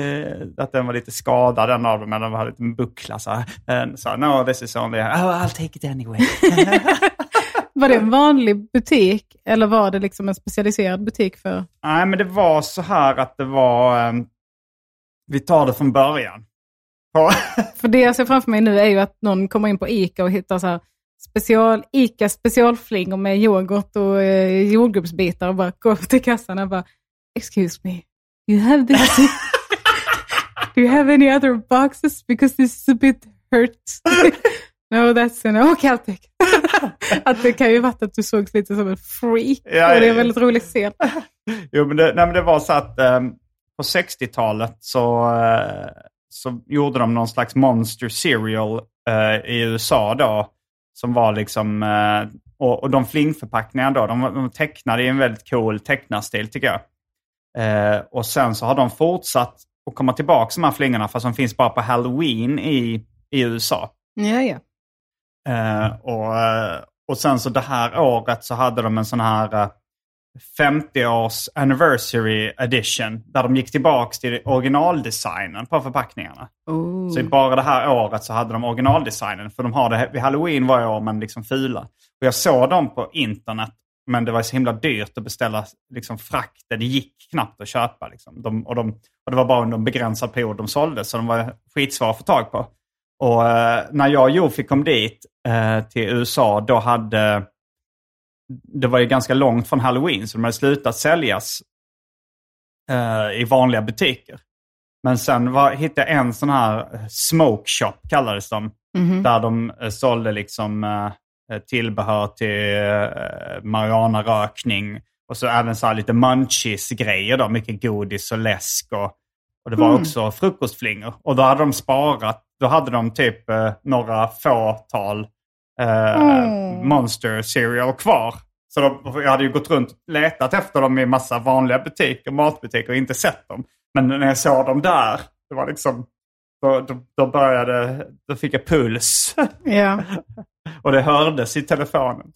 Eh, att den var lite skadad, den av dem, men den hade en liten buckla. Så här. Eh, så här, no, this is only...
oh, I'll take it anyway.
Var det en vanlig butik eller var det liksom en specialiserad butik för...
Nej, men det var så här att det var... ehm, vi tar det från början.
För det jag ser framför mig nu är ju att någon kommer in på ICA och hittar så här special, ICA specialflingor med yoghurt och eh, jordgubbsbitar och bara går upp till kassan och bara Excuse me, you have this... Do you have any other boxes? Because this is a bit hurt. no, that's an okay, I'll take it." Att det kan ju varit att du sågs lite som en freak.
Ja,
och det
ja,
är
ja.
väldigt roligt scen.
Jo, men det, nej, men det var så att ehm, på 60-talet så, eh, så gjorde de någon slags monster cereal eh, i USA då. Som var liksom... eh, och, och de flingförpackningarna då, de, var- de var tecknade i en väldigt cool tecknarstil tycker jag. Eh, och sen så har de fortsatt att komma tillbaka de här flingorna, fast de finns bara på halloween i, i USA.
Ja, ja.
Eh, och, eh, och sen så det här året så hade de en sån här eh, 50-års anniversary edition där de gick tillbaka till originaldesignen på förpackningarna.
Oh.
Så i bara det här året så hade de originaldesignen. För de har det vid halloween varje år, men liksom fula. Och jag såg dem på internet, men det var så himla dyrt att beställa liksom, frakter. Det gick knappt att köpa. Liksom. De, och, de, och det var bara under en begränsad period de såldes, så de var skitsvåra att få tag på. Och eh, när jag och Jofi kom dit eh, till USA, då hade... Det var ju ganska långt från halloween, så de hade slutat säljas eh, i vanliga butiker. Men sen var, hittade jag en sån här eh, smoke shop, kallades de.
Mhm.
Där de eh, sålde liksom eh, tillbehör till eh, marijuanarökning. Och så även så här lite munchies-grejer då. Mycket godis och läsk. Och, och det var
Mm.
också frukostflingor. Och då hade de sparat, då hade de typ eh, några fåtal eh,
Mm.
Monster Cereal kvar. Så de, jag hade ju gått runt och letat efter dem i massa vanliga butiker, matbutiker och inte sett dem. Men när jag såg dem där, det var liksom, då, då, då började, då fick jag puls.
Ja.
Och det hördes i telefonen.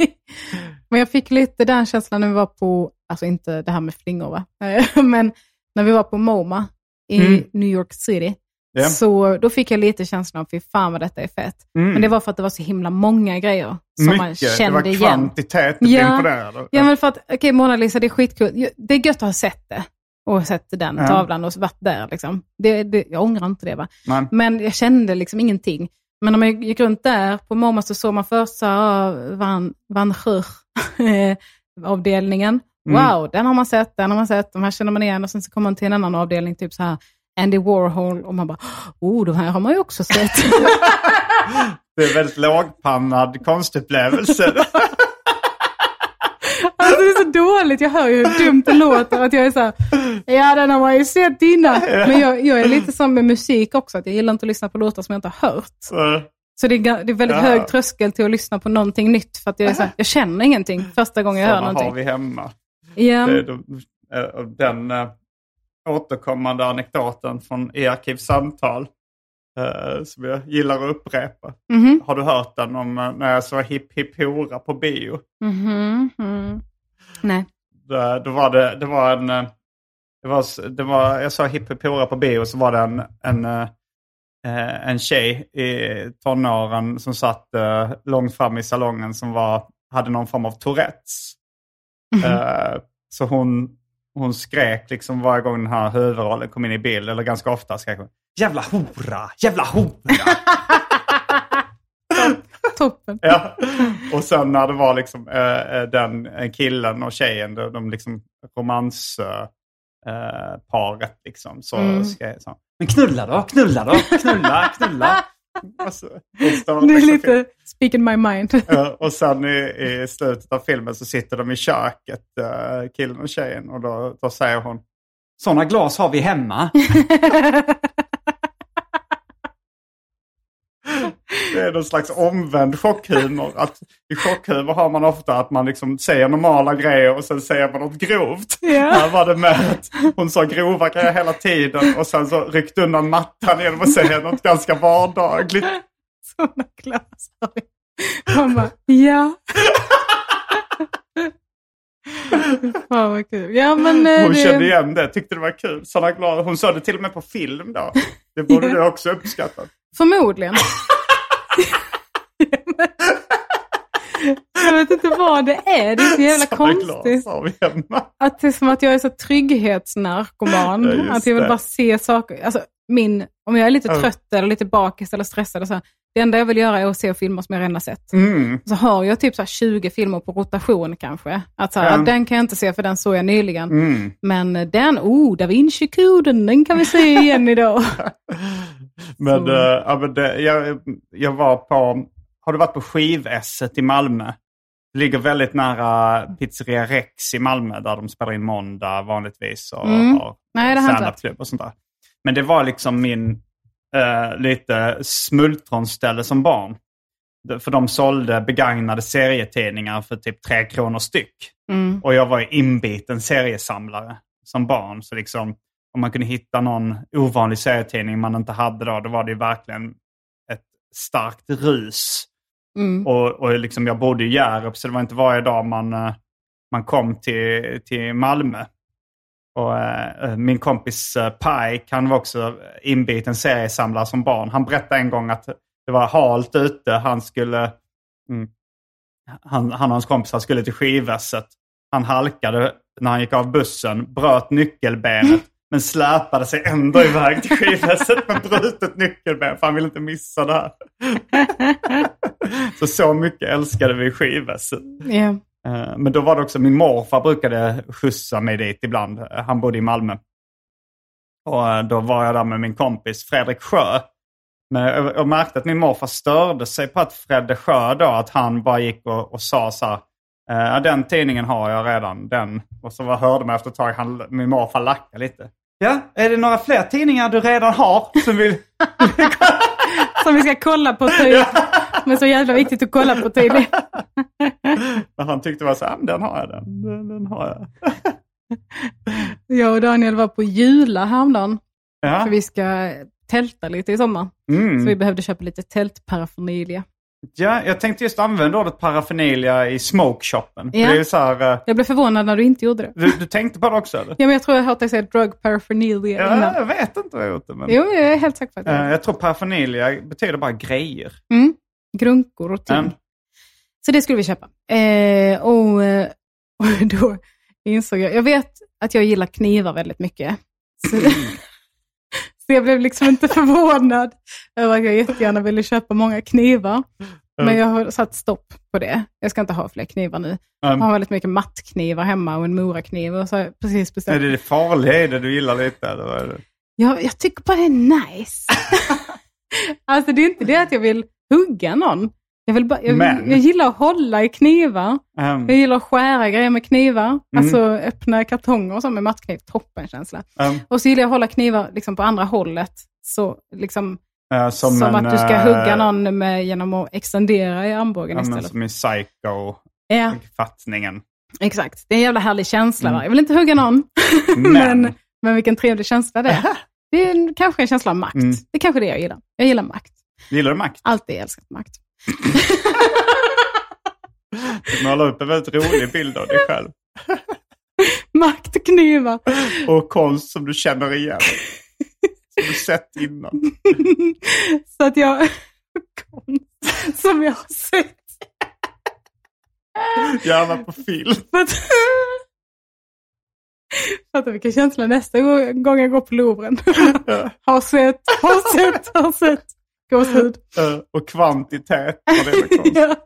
Men jag fick lite den känslan när vi var på, alltså inte det här med flingor va, men när vi var på MoMA i
Mm.
New York City,
Ja.
så då fick jag lite känslan av fy fan vad detta är fett.
Mm.
Men det var för att det var så himla många grejer som man
Mycket.
kände
det var
igen.
kvantitet
Ja.
imponerande.
Ja, men för att, okej Mona Lisa, det är skitkul. Ja, Det är gött att ha sett det och sett den
Ja.
tavlan och varit där. Liksom. Det, det, jag ångrar inte det. Va?
Nej.
Men jag kände liksom ingenting. Men om jag gick runt där på MoMA så såg man först så här, ah, Van, Van Gogh, eh, avdelningen.
Mm.
Wow, den har man sett, den har man sett, de här känner man igen. Och sen så kom man till en annan avdelning, typ så här Andy Warhol. Och man bara, oh, de här har man ju också sett.
Det är en väldigt lågpannad konstupplevelse.
Alltså det är så dåligt, jag hör ju hur dumt det låter. Att jag är så här, ja den har man ju sett innan. Men jag, jag är lite som med musik också, att jag gillar inte att lyssna på låtar som jag inte har hört. Så det är, ga- det är väldigt
Ja.
hög tröskel till att lyssna på någonting nytt, för att jag, är så här, jag känner ingenting första gången jag hör
Sådana har
någonting.
vi hemma.
Ja.
Det är de, eh, och den eh, återkommande anekdoten från i arkivsamtal eh, som jag gillar att upprepa.
Mhm.
Har du hört den om eh, när jag såg Hipp Hipp Hora på bio?
Mhm, mm. Nej.
Där- Då var det, det var en... eh, Det var, s- det var, jag sa hippopora på bio, så var det en, en, eh, eh, en tjej i tonåren som satt eh, långt fram i salongen som var, hade någon form av Tourettes. Eh, Så hon, hon skrek liksom varje gång den här huvudrollen kom in i bild, eller ganska ofta skrek hon Jävla hora! Jävla hora!
Toppen.
Ja. Och sen när det var liksom, eh, eh, den eh, killen och tjejen, de, de liksom romansparet, eh, paret liksom, så
Mm.
skrev så, Men knulla då, knulla då, knulla, knulla. Alltså, och så var
Det är
liksom-
lite speak in my mind.
Eh, och sen i, i slutet av filmen så sitter de i köket, eh, killen och tjejen, och då, då säger hon Sådana glas har vi hemma. Det är någon slags omvänd chockhumor. Att I chockhumor har man ofta att man liksom säger normala grejer och sen säger man något grovt.
Ja.
Här var det med att hon sa grova grejer hela tiden och sen så ryckte undan mattan genom att säga något ganska vardagligt.
Sådana glasögon. Man bara, ja. Fan vad kul. Ja, men, eh,
Hon
det-
kände igen det, tyckte det var kul. Sanna glad. Hon såg det till och med på film då. Det borde du också uppskattat.
Förmodligen. jag vet inte vad det är. Det är så jävla
Sanna Glad
konstigt.
sa vi hemma.
Att det är som att jag är så trygghetsnarkoman.
Ja, just
att jag vill
det.
bara se saker. Alltså, min, om jag är lite
Ja.
trött eller lite bakis eller stressad, och så här, det enda jag vill göra är att se filmer som jag redan har sett.
Mm.
Så har jag typ så här 20 filmer på rotation kanske. Att så här,
Ja.
"Ah, Den kan jag inte se för den såg jag nyligen.
Mm.
Men den, oh, Da Vinci-koden, den kan vi se igen idag.
Men,
Mm.
eh, ja, men det, jag, jag var på... Har du varit på Skivesset i Malmö? Det ligger väldigt nära Pizzeria Rex i Malmö där de spelar in måndag vanligtvis och
Mm.
har
Nej, det har jag inte
standupklubb och sånt där. Men det var liksom min eh, lite smultronställe som barn. För de sålde begagnade serietidningar för typ tre kronor styck.
Mm.
Och jag var ju inbiten seriesamlare som barn. Så liksom, om man kunde hitta någon ovanlig serietidning man inte hade då, då var det ju verkligen ett starkt rus.
Mm.
Och, och liksom, jag bodde i Hjärup, så det var inte varje dag man, eh, man kom till, till Malmö. Och, eh, min kompis eh, Pike, han var också inbiten seriesamlare som barn. Han berättade en gång att det var halt ute. Han skulle... Mm, han, han och hans kompisar skulle till skivvässet. Han halkade när han gick av bussen, bröt nyckelbenet men släpade sig ändå iväg till skivvässet med brutet nyckelben för han ville inte missa det här. Så så mycket älskade vi skivvässet.
Ja.
Eh, Men då var det också, min morfar brukade skjutsa mig dit ibland. Eh, Han bodde i Malmö. Och eh, då var jag där med min kompis Fredrik Sjö. Men jag, jag märkte att min morfar störde sig på att Fredde Sjö då, att han bara gick och, och sa så här, eh, ja den tidningen har jag redan, den. Och så var, hörde man efter ett tag, han, min morfar lacka lite. Ja, är det några fler tidningar du redan har som vill...
Som vi ska kolla på typ. Men så jävla viktigt att kolla på typ. tydligen.
Och han tyckte var så här, "Ja, men den har jag den, den, den har jag.
Jag och Daniel var på Jula häromdagen.
Ja.
För vi ska tälta lite i sommar.
Mm.
Så vi behövde köpa lite tältparaphernalia.
Ja, jag tänkte just använda ordet paraphernalia i smokeshoppen.
Ja.
Det är ju så här, eh,
Jag blev förvånad när du inte gjorde det.
du, du tänkte på det också eller?
Ja, men jag tror jag har hört dig säga drug paraphernalia
Ja, jag
innan.
vet inte vad jag gjort det. Men,
Jo, jag är helt säker på att jag
Eh,
har
jag tror paraphernalia betyder bara grejer.
mm. Grunkor och typ. ting.
Mm.
Så det skulle vi köpa. Eh, och, eh, och då insåg jag, jag vet att jag gillar knivar väldigt mycket. Så,
Mm.
så jag blev liksom inte förvånad över att jag jättegärna ville köpa många knivar. Men jag har satt stopp på det. Jag ska inte ha fler knivar nu.
ehm,
Jag har väldigt mycket mattknivar hemma och en morakniv. Och så har jag precis bestämt.
Är det det farliga i det du gillar lite? Eller vad är det?
Jag, jag tycker bara det är nice. alltså det är inte det att jag vill hugga någon. Jag, vill bara, jag,
Men-
jag gillar att hålla i knivar.
Ehm,
Jag gillar att skära grejer med knivar.
Mm.
Alltså öppna kartonger och så med mattkniv. Toppen känsla.
ehm,
Och så gillar jag att hålla knivar liksom på andra hållet. Så, liksom,
eh,
som
en,
att du ska
eh,
hugga någon med, genom att extendera i armbågen
Ja, men
istället.
som i psycho-fattningen.
Ja, exakt. Det är en jävla härlig känsla.
Mm.
Va? Jag vill inte hugga någon,
Men,
men, men vilken trevlig känsla det är. Det är en, kanske en känsla av makt.
Mm.
Det är kanske det jag gillar. Jag gillar makt.
gillar du makt?
Alltid älskat makt.
Du målar upp en väldigt rolig bild av dig själv.
Makt och knivar.
Och konst som du känner igen. Som du sett innan.
Så att jag... Konst som jag har sett.
Gärna på film.
För att... Fattar vilken känsla nästa gång jag går på Louvren. Har sett, har sett, har sett. Gåshud.
Eh, och kvantitet på det med konst.
Ja,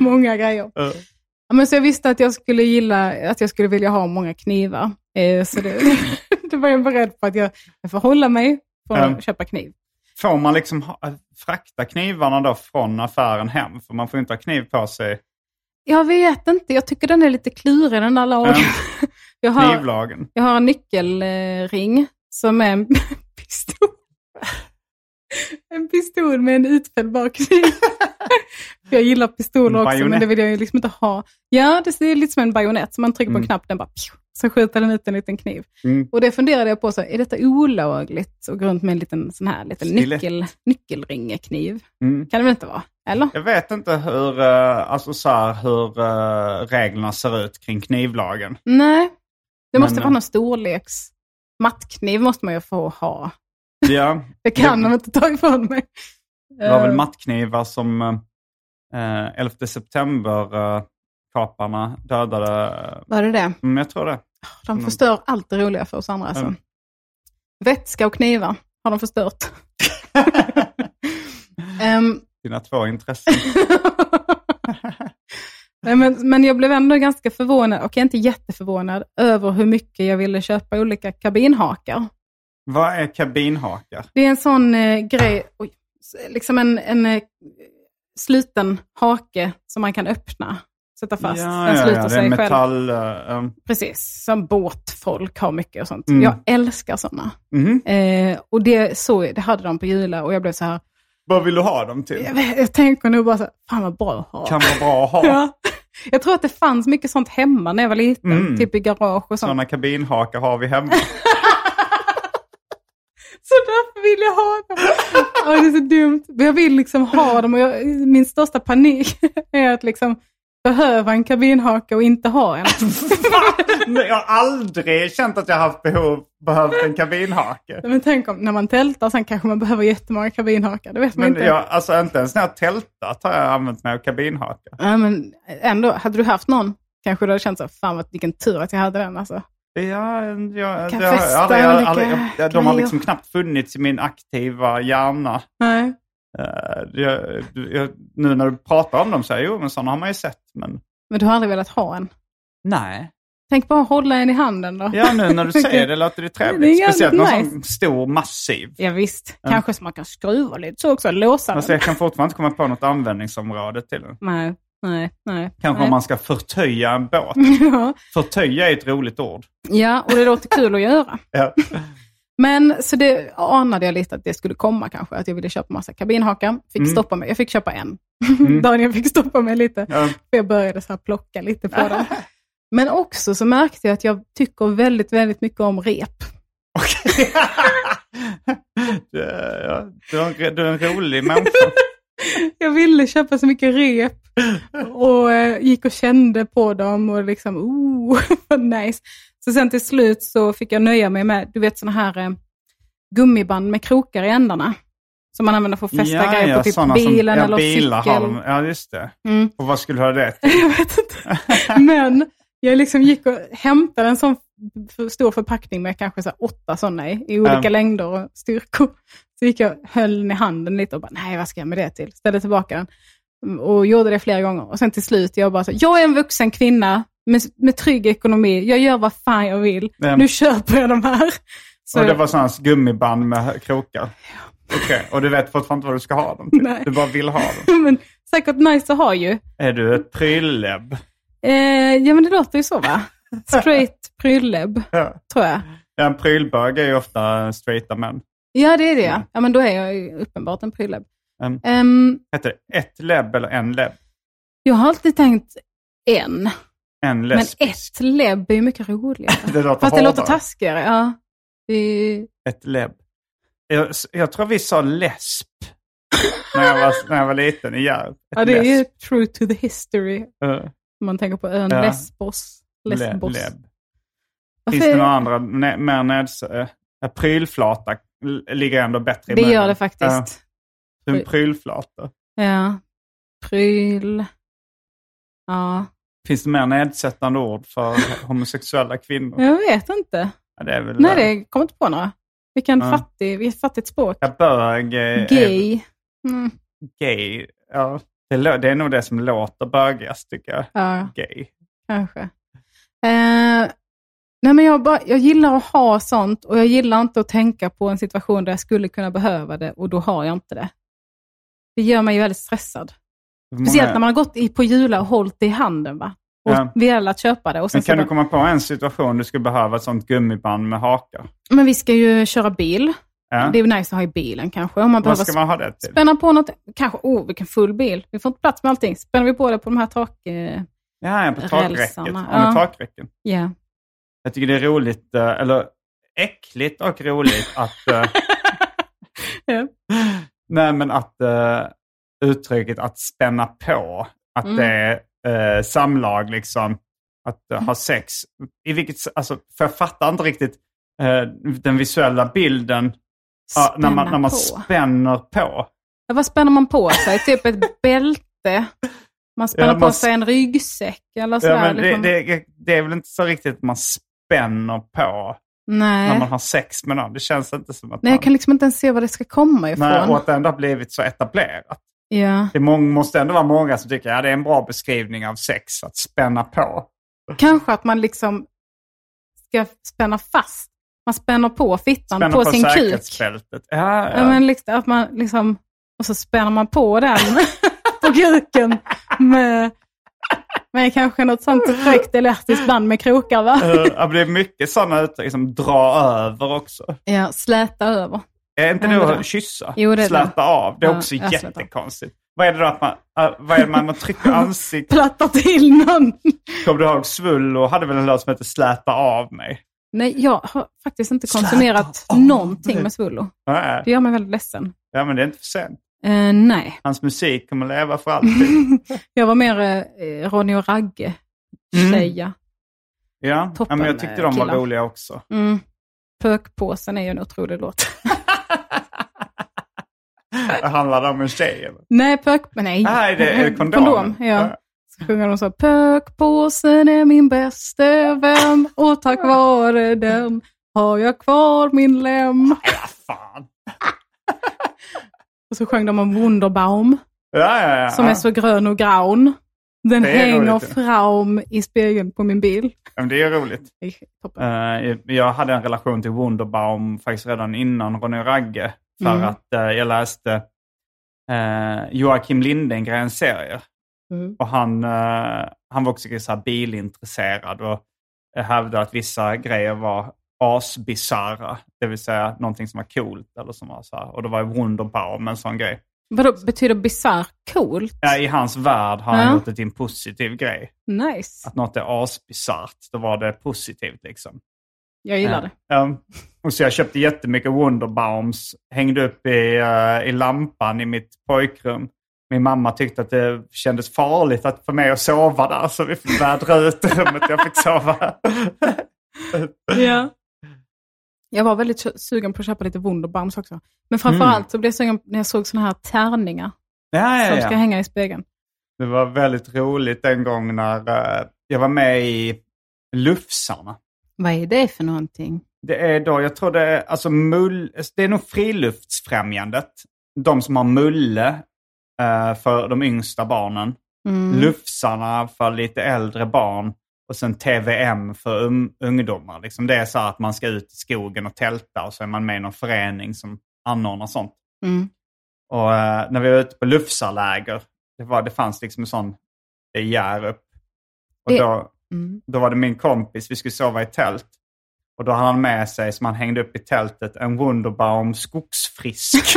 många grejer.
Eh,
Ja, Men så jag visste att jag skulle gilla, att jag skulle vilja ha många knivar. Eh, Så det, det var jag beredd på att jag, jag får hålla mig från
Mm.
att köpa kniv.
Får man liksom ha, frakta knivarna då från affären hem? För man får ju inte ha kniv på sig.
Jag vet inte, jag tycker den är lite klurig den där lagen.
Mm.
Jag har,
Knivlagen.
jag har en nyckelring som är en pistol. En pistol med en utfällbar kniv. För jag gillar pistoler
En
också, men det
bajonett.
vill jag ju liksom inte ha. Ja, det är lite som en bajonett, så man trycker på en
Mm.
knapp, den bara pju, så skjuter den ut en liten kniv.
Mm.
Och det funderade jag på, så, är detta olagligt att gå runt med en liten, sån här, liten
Stilett.
nyckel, nyckelringekniv?
Mm.
Kan det väl inte vara? Eller?
Jag vet inte hur, eh, alltså så här, hur eh, reglerna ser ut kring knivlagen.
Nej, det
Men,
måste
eh,
vara någon storleks... Mattkniv måste man ju få ha.
Ja,
Det kan de inte ta ifrån mig.
det var väl
Eh,
mattknivar som eh, 11 september-kaparna dödade.
Var det det?
Mm, jag tror det.
De förstör allt det roliga för oss andra. Alltså.
Mm.
Vätska och knivar har de förstört. Ehm,
Dina två intressen.
nej, men, men jag blev ändå ganska förvånad, och jag är inte jätteförvånad, över hur mycket jag ville köpa olika kabinhakar.
Vad är kabinhakar?
Det är en sån eh, grej, oj, s- liksom en, en eh, sluten hake som man kan öppna, sätta fast.
ja,
Den
ja,
sluter
ja, det
sig
är
själv.
metall... eh, um,
Precis, som båtfolk har mycket och sånt.
Mm.
Jag älskar sådana.
mhm.
Eh, och det, så, det hade de på Jula och jag blev så här,
Vad vill du ha dem till?
jag, vet- jag tänker nog bara så här, fan vad bra att ha.
Kan vara bra att ha.
Ja. Jag tror att det fanns mycket sånt hemma när jag var liten,
Mm.
typ i garage och sånt.
Sådana kabinhakar har vi hemma.
Så därför vill jag ha dem. Ja, det är så dumt. Men jag vill liksom ha dem och jag, min största panik är att liksom behöva en kabinhaka och inte ha en.
Nej, jag har aldrig känt att jag haft behov, behövt en kabinhake.
Men tänk om, när man tältar sen kanske man behöver jättemånga kabinhakar, det vet man
Men
inte.
jag, alltså inte ens när jag tältat har jag använt mig av kabinhake.
Ja, men ändå, hade du haft någon kanske du hade känt så, här, fan vad, vilken tur att jag hade den alltså.
Ja, jag, jag,
Kan
jag, har
festa
aldrig, jag,
olika
aldrig, jag, jag, de har
grejer.
liksom knappt funnits i min aktiva hjärna.
Nej.
Eh, jag, jag, nu när du pratar om dem så säger jag, jo men sådana har man ju sett. Men
Men du har aldrig velat ha en?
nej.
Tänk bara hålla en i handen då.
Ja, nu när du säger det låter det
Det är
trevligt.
jävligt
Speciellt någon
nice.
sån stor, massiv.
Ja, visst, kanske så man kan skruva lite så också, låsa
Alltså,
den.
jag kan fortfarande inte komma på något användningsområde till den.
Nej, nej, nej.
Kanske
nej. Mm.
om man ska förtöja en båt.
ja.
Förtöja är ett roligt ord.
Ja, och det låter kul att göra.
Ja.
Men så det anade jag lite att det skulle komma kanske, att jag ville köpa massa kabinhakar. Fick
Mm.
stoppa mig. Jag fick köpa en.
Mm.
Daniel fick stoppa mig lite,
Ja.
för jag började så här plocka lite på dem. Men också så märkte jag att jag tycker väldigt, väldigt mycket om rep.
Du, är- ja, du, är, en re- du är en rolig människa.
Jag ville köpa så mycket rep och eh, gick och kände på dem och liksom, oh, vad nice. Så sen till slut så fick jag nöja mig med, du vet sådana här eh, gummiband med krokar i ändarna. Som man använder för att fästa grejer på typ
såna
bilen
ja,
eller
bilar har
cykeln.
de. Ja, just det.
Mm.
Och vad skulle du ha det till?
Jag vet inte. Men jag liksom gick och hämtade en sån f- stor förpackning med kanske så här åtta sådana i, i olika
Mm.
längder och styrkor. Så gick jag och höll den i handen lite och bara, nej vad ska jag med det till? Ställde tillbaka den Mm, och gjorde det flera gånger. Och sen till slut, jag bara, så, jag är en vuxen kvinna med, med trygg ekonomi. Jag gör vad fan jag vill.
Mm.
Nu köper jag de här. Så
och det var sådana gummiband med krokar. Okej, och du vet fortfarande inte vad du ska ha dem till.
Nej.
Du bara vill ha dem.
men, säkert nice att ha ju.
Är du ett pryllebb?
Eh, ja men det låter ju så va? Straight prylleb,
Ja.
tror jag.
Ja, En prylbög är ju ofta straighta män.
Ja, det är det.
Mm.
Ja, men då är jag ju uppenbart en prylleb.
Um,
Ehm,
heter det ett lebb eller en lebb?
jag har alltid tänkt en,
En lesb.
men ett lebb är ju mycket roligare.
Det låter
Fast det låter
hårdare.
taskigare. Ja. Det är-
Ett lebb. Jag, jag tror vi sa lesp när, jag var, när jag var liten i Hjärp. Ett
ja, det är ju
lesp.
true to the history.
Eh,
Om man tänker på ön
Ja.
Lesbos. Lesbos.
Le, lebb.
Varför-
Finns det några andra ne, mer neds... eh, prylflata l- ligger ändå bättre i
Det gör
munnen.
det faktiskt.
Ja. Du är en prylflata.
Ja. Pryl. Ja,
Finns det mer nedsättande ord för homosexuella kvinnor?
jag vet inte.
Ja, det är väl
Nej, det kommer inte på några. Vilken
Ja.
fattig, vilket fattigt språk.
Ja, bög är, Är,
Gay. Mm.
gay. Ja, det, lå- det är nog det som låter bögigast tycker jag.
Ja.
Gay.
Kanske. Eh, nej men jag, bara, jag gillar att ha sånt och jag gillar inte att tänka på en situation där jag skulle kunna behöva det och då har jag inte det. Det gör mig ju väldigt stressad. Speciellt när man har gått i, på Jula och hållit det i handen. Va? Och
Ja.
Vi har att köpa det. Och sen
Men kan
så
du komma på en situation du skulle behöva ett sånt gummiband med hakar?
bara, men vi ska ju köra bil.
Ja.
Det är ju nice att ha i bilen kanske. Om
Vad
man behöver
ska man ha det till?
spänna på något. Kanske, oh vilken full bil. Vi får inte plats med allting. Spänner vi på det på de här tak... Eh,
Ja, ja, på takräcket. Ja,
Rälsarna,
med
ja.
takräcken.
ja.
Jag tycker det är roligt, eh, eller äckligt och roligt att, eh,
Ja.
nej, men att eh, uttrycket att spänna på. Att
Mm.
det är eh, samlag liksom. Att eh,
Mm.
ha sex. I vilket, s- alltså, för jag fattar inte riktigt eh, den visuella bilden ja, när, man,
Spänna
när man
på. Alltså,
spänner på.
Ja, vad spänner man på sig? Typ ett bälte? Man spänner
Ja, man
på sig en ryggsäck eller sådär.
Ja, men det,
liksom.
det, det är väl inte så riktigt att man spänner på
Nej.
när man har sex med någon. Det känns inte som att
Nej,
man...
jag kan liksom inte ens se var det ska komma ifrån.
Nej, och att det ändå har blivit så etablerat.
ja.
Det må- måste ändå vara många som tycker att ja, det är en bra beskrivning av sex, att spänna på.
Kanske att man liksom ska spänna fast. Man spänner på fittan
Spänna
på, sin kuk.
säkerhetsbältet. Ja,
Ja, men liksom, att man liksom, och så spänner man på den på kuken med, med kanske något sånt fräckt elastiskt band med krokar. Va?
Eh, ja, men det är mycket sådana uttryck som dra över också.
Ja, släta över.
Är inte
Ja,
det
det är det.
att kyssa?
Jo, det är det.
Släta av. Det är
Ja,
också
jag slätar.
jättekonstigt. Vad är det då att man, eh, vad är det man, man trycker ansiktet?
Platta till någon.
Kommer du ihåg Svullo hade väl en låt som hette Släta av mig?
Nej, jag har faktiskt inte konsumerat någonting med Svullo.
Nej.
Det gör mig väldigt ledsen.
Ja, men det är inte för sent.
Eh, nej,
Hans musik kommer leva för alltid.
jag var mer eh, Ronny och
Mm.
Ragge-tjeja.
Ja, ja
Toppen,
men jag tyckte de var
killar.
roliga också.
Mm. Pökpåsen är ju en otrolig låt.
Det handlade om en tjej. eller?
Nej, pök... men Nej,
Nej, det är kondom.
ja. Så sjunger de så. Pökpåsen är min bästa vän och tack vare den har jag kvar min lem.
Fan.
Och så sjöng de om Wunderbaum
Ja, ja, ja.
som är så grön och graun. Den
Det är
hänger
roligt, ja.
fram i spegeln på min bil.
Ja, men det är roligt. Eh, jag hade en relation till Wunderbaum faktiskt redan innan Ronny och Ragge. För
Mm.
att eh, jag läste eh, Joakim Lindengrens serier.
Mm.
Och han, eh, han var också så här bilintresserad och hävdade att vissa grejer var asbisarra. Det vill säga någonting som var coolt eller som var så här. Och då var ju Wunderbaum en sån grej.
Vadå, betyder bisarr cool?
Ja, I hans värld har han
Ja.
gjort det till en positiv grej.
Nice.
Att något är asbisarrt, då var det positivt liksom.
Jag gillar det.
Ja. Ja. och så jag köpte jättemycket Wonderbaums, hängde upp i, eh, i lampan i mitt pojkrum. Min mamma tyckte att det kändes farligt att, för mig att sova där, så vi fick vädra ut rummet. Jag fick sova.
Ja. Jag var väldigt su- sugen på att köpa lite Wunderbaums också. Men framförallt
Mm.
så blev jag sugen när jag såg sådana här tärningar
Ja, ja,
som
ja.
ska hänga i spegeln.
Det var väldigt roligt en gång när eh, jag var med i Lufsarna.
Vad är det för någonting?
Det är då, jag tror det är, alltså mull, det är nog Friluftsfrämjandet. De som har Mulle eh, för de yngsta barnen.
Mm.
Lufsarna för lite äldre barn. Och sen TVM för um, ungdomar. Liksom det är så här att man ska ut i skogen och tälta och så är man med i någon förening som anordnar sånt.
Mm.
Och eh, när vi var ute på Lufsarläger, det, var, det fanns liksom en sån i Hjärup. Och
Det-
då,
Mm.
då var det min kompis, vi skulle sova i tält. Och då hade han med sig, som han hängde upp i tältet, en Wunderbaum skogsfrisk.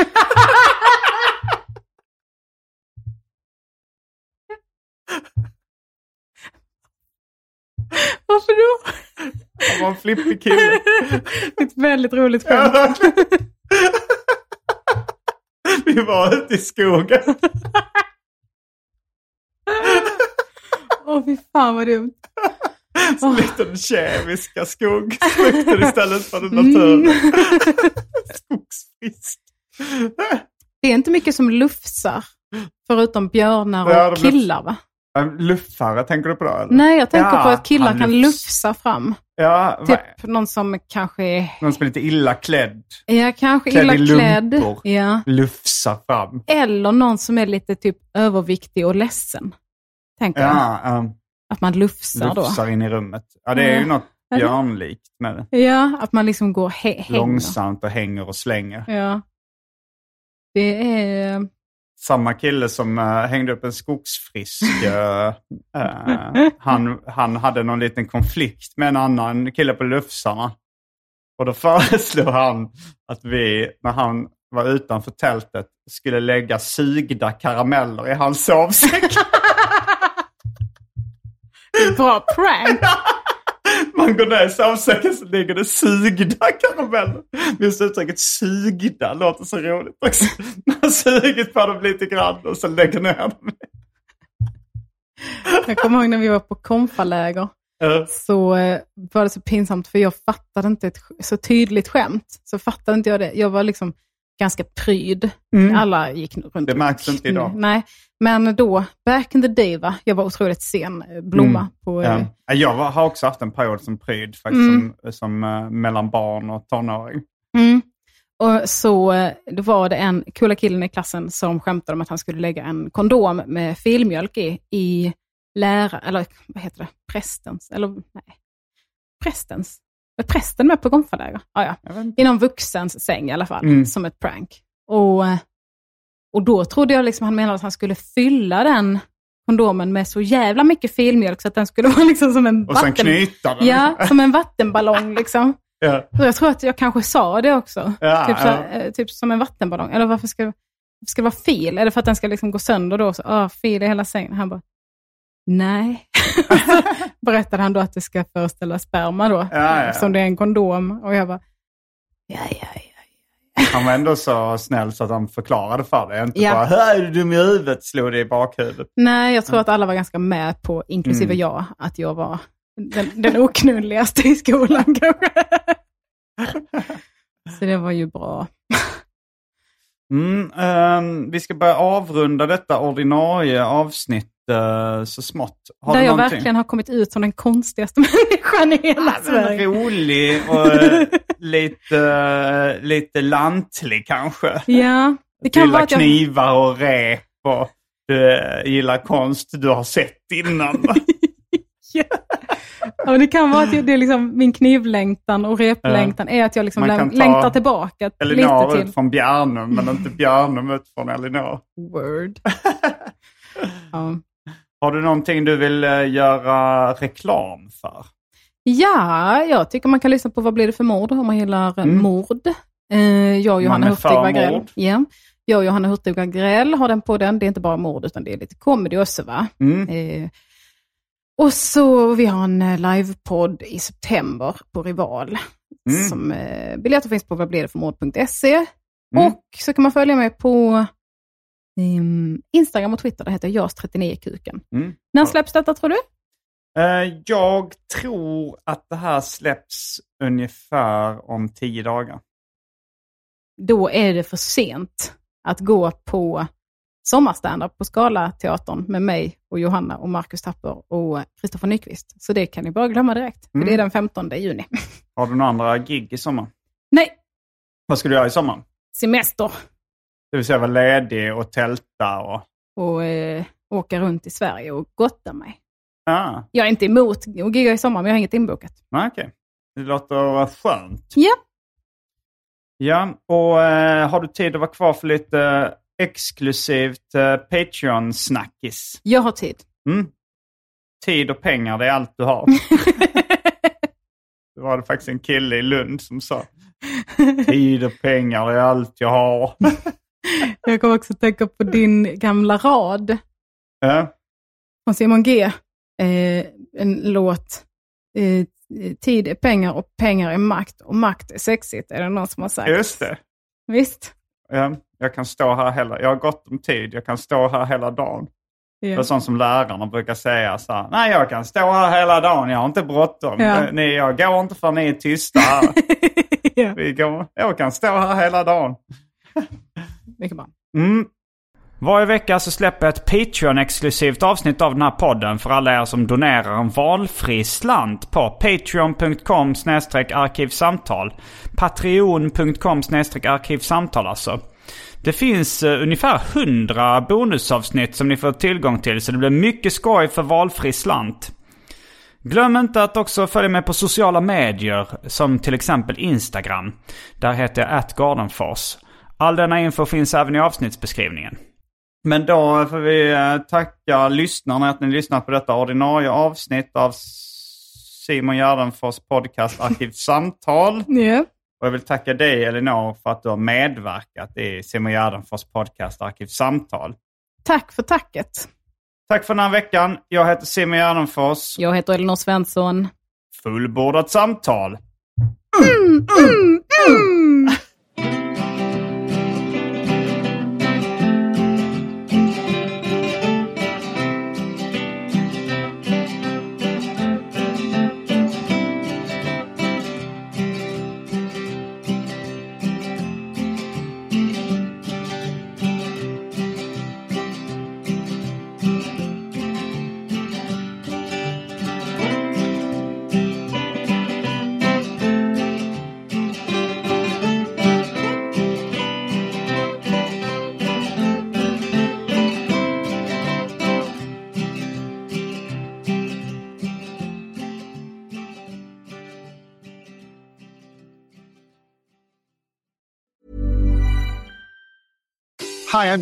Varför då?
Han var en flippig kille.
Ett väldigt roligt skämt.
vi var ute i skogen.
Åh fy fan vad dumt.
Så lite den kemiska skogsfrukten istället för den naturliga.
Mm.
Skogsfisk.
Det är inte mycket som lufsar, förutom björnar och
Ja, de lufs-
killar va?
Mm. Luffare, tänker du på det? Eller?
Nej, jag tänker
Ja,
på att killar
han
kan
lufs-
lufsa fram.
Ja, va-
Typ någon som kanske är
någon som är lite illa klädd.
ja, kanske
Klädd
illa
i
klädd.
lumpor.
Ja.
Lufsar fram.
Eller någon som är lite typ överviktig och ledsen. Tänker jag.
Ja, ehm,
Att man lufsar då.
lufsar in i rummet. Ja, det är ju
Ja.
något
Eller?
björnlikt med det.
Ja, att man liksom går he- hänger.
Långsamt och hänger och slänger.
Ja. Det är...
Samma kille som eh, hängde upp en skogsfrisk, eh, eh, han, han hade någon liten konflikt med en annan kille på Lufsarna. Och då föreslog han att vi, när han var utanför tältet, skulle lägga sugda karameller i hans sovsäck.
Bra prank!
Man går ner i sovsäcken så ligger det sugda karameller. Just uttrycket sugda låter så roligt också. Man har sugit på dem lite grann och så lägger ner dem.
Jag kommer ihåg när vi var på konfaläger. Så eh, var det så pinsamt, för jag fattade inte ett sk- så tydligt skämt. Så fattade inte jag det. Jag var liksom ganska pryd.
Mm.
Alla gick runt
Det märks inte idag.
Nej, men då, back in the day, va? jag var otroligt sen eh, blomma.
Mm.
På, eh,
Ja. Jag var, har också haft en period som pryd, faktiskt,
Mm.
som, som eh, mellan barn och tonåring.
mm. Och så eh, då var det en coola killen i klassen som skämtade om att han skulle lägga en kondom med filmjölk i, i lära, eller vad heter det, prästens, eller nej, prästens. Var prästen med på konfaläger? Ah, Ja, ja. I någon vuxens säng i alla fall,
Mm.
som ett prank. Och, eh, och då trodde jag liksom han menade att han skulle fylla den kondomen med så jävla mycket filmjölk så att den skulle vara liksom som en
Och sen knyta den.
Ja, som en vattenballong liksom.
Ja.
Så Jag tror att jag kanske sa det också.
Ja,
typ, så, här,
ja.
eh, typ som en vattenballong. Eller varför ska, varför ska det vara fil? Är det för att den ska liksom gå sönder då? Så, ah, fil i hela sängen. Han bara, nej. Berättade han då att det ska föreställa sperma då,
Ja, ja.
som det är en kondom. Och jag bara,
Han var ändå så snäll så att han förklarade för dig. Inte
Ja.
bara "Hä, är du dum i huvudet?” slog det i bakhuvudet.
nej, jag tror att alla var ganska med på, inklusive
Mm.
jag, att jag var den, den oknulligaste i skolan kanske. Så det var ju bra.
Mm, ehm, vi ska börja avrunda detta ordinarie avsnitt eh, så smått. Har
Där
du
jag
någonting? Ah,
verkligen har kommit ut som den konstigaste människan i hela Sverige.
Rolig och eh, lite, eh, lite lantlig kanske.
Ja, det kan
gillar
vara att jag...
knivar och rep och du eh, gillar konst du har sett innan.
Ja, men det kan vara att jag, det är liksom min knivlängtan och replängtan är att jag liksom
Man kan
läng-
ta
längtar tillbaka lite
Elinor
till.
ut från Bjärnum men inte Bjärnum ut från Elinor.
Word. ja.
Har du någonting du vill eh, göra reklam för?
ja, jag tycker man kan lyssna på Vad blir det för mord om man gillar eh,
Mm.
mord. Eh, jag och Johanna
är
Hurtig
för
Wagrell.
mord.
Ja. Jag och Johanna Hurtig Wagrell har den på den. Det är inte bara mord utan det är lite comedy också va?
Mm.
Eh, och så vi har en eh, livepodd i september på Rival.
Mm.
Som, eh, biljetter finns på vadbledeformord.se.
Mm.
Och så kan man följa mig på ehm, Instagram och Twitter. Där heter jag jas39kuken.
Mm.
När släpps detta tror du?
Eh, Jag tror att det här släpps ungefär om tio dagar.
Då är det för sent att gå på sommarstandup på Scala-teatern med mig och Johanna och Marcus Tapper och Kristoffer Nyqvist. Så det kan ni bara glömma direkt. För
Mm.
det är den 15 juni.
Har du några andra gig i sommar?
Nej,
Vad ska du göra i sommar?
semester.
Det vill säga vara ledig och tälta och...
Och eh, åka runt i Sverige och gotta mig.
Ah,
Jag är inte emot att gigga i sommar, men jag har inget inbokat.
nej, Ah, okej. Det låter eh, skönt.
Ja,
Ja, och eh, har du tid att vara kvar för lite eh, exklusivt eh, Patreon-snackis?
jag har tid.
Mm. Tid och pengar, det är allt du har. det var det faktiskt en kille i Lund som sa. Tid och pengar, det är allt jag har.
Jag kommer också tänka på din gamla rad
Ja.
från Simon G. Eh, en låt. Eh, tid är pengar och pengar är makt och makt är sexigt, är det någon som har sagt.
Just det.
Visst?
Ja, jag kan stå här hela, jag har gott om tid, jag kan stå här hela dagen.
Ja.
Det är sånt som lärarna brukar säga. Så här, Nej, jag kan stå här hela dagen, jag har inte bråttom.
Ja.
Eh, Ni, jag går inte för ni är tysta här. Vi går, jag kan stå här hela dagen.
Mycket bra.
Mm. Varje vecka så släpper jag ett Patreon-exklusivt avsnitt av den här podden för alla er som donerar en valfri slant på patreon.com arkivsamtal. Patreon.com arkivsamtal alltså. Det finns eh, ungefär 100 bonusavsnitt som ni får tillgång till så det blir mycket skoj för valfri slant. Glöm inte att också följa mig på sociala medier som till exempel Instagram. Där heter jag atgardenfors. All denna info finns även i avsnittsbeskrivningen. Men då får vi eh, tacka lyssnarna att ni lyssnat på detta ordinarie avsnitt av Simon Gärdenfors podcast Arkivsamtal.
Ja.
Och jag vill tacka dig Elinor för att du har medverkat i Simon Gärdenfors podcast Arkivsamtal.
Tack för tacket.
Tack för den här veckan. Jag heter Simon Gärdenfors.
Jag heter Elinor Svensson.
Fullbordat samtal.
Hi, I'm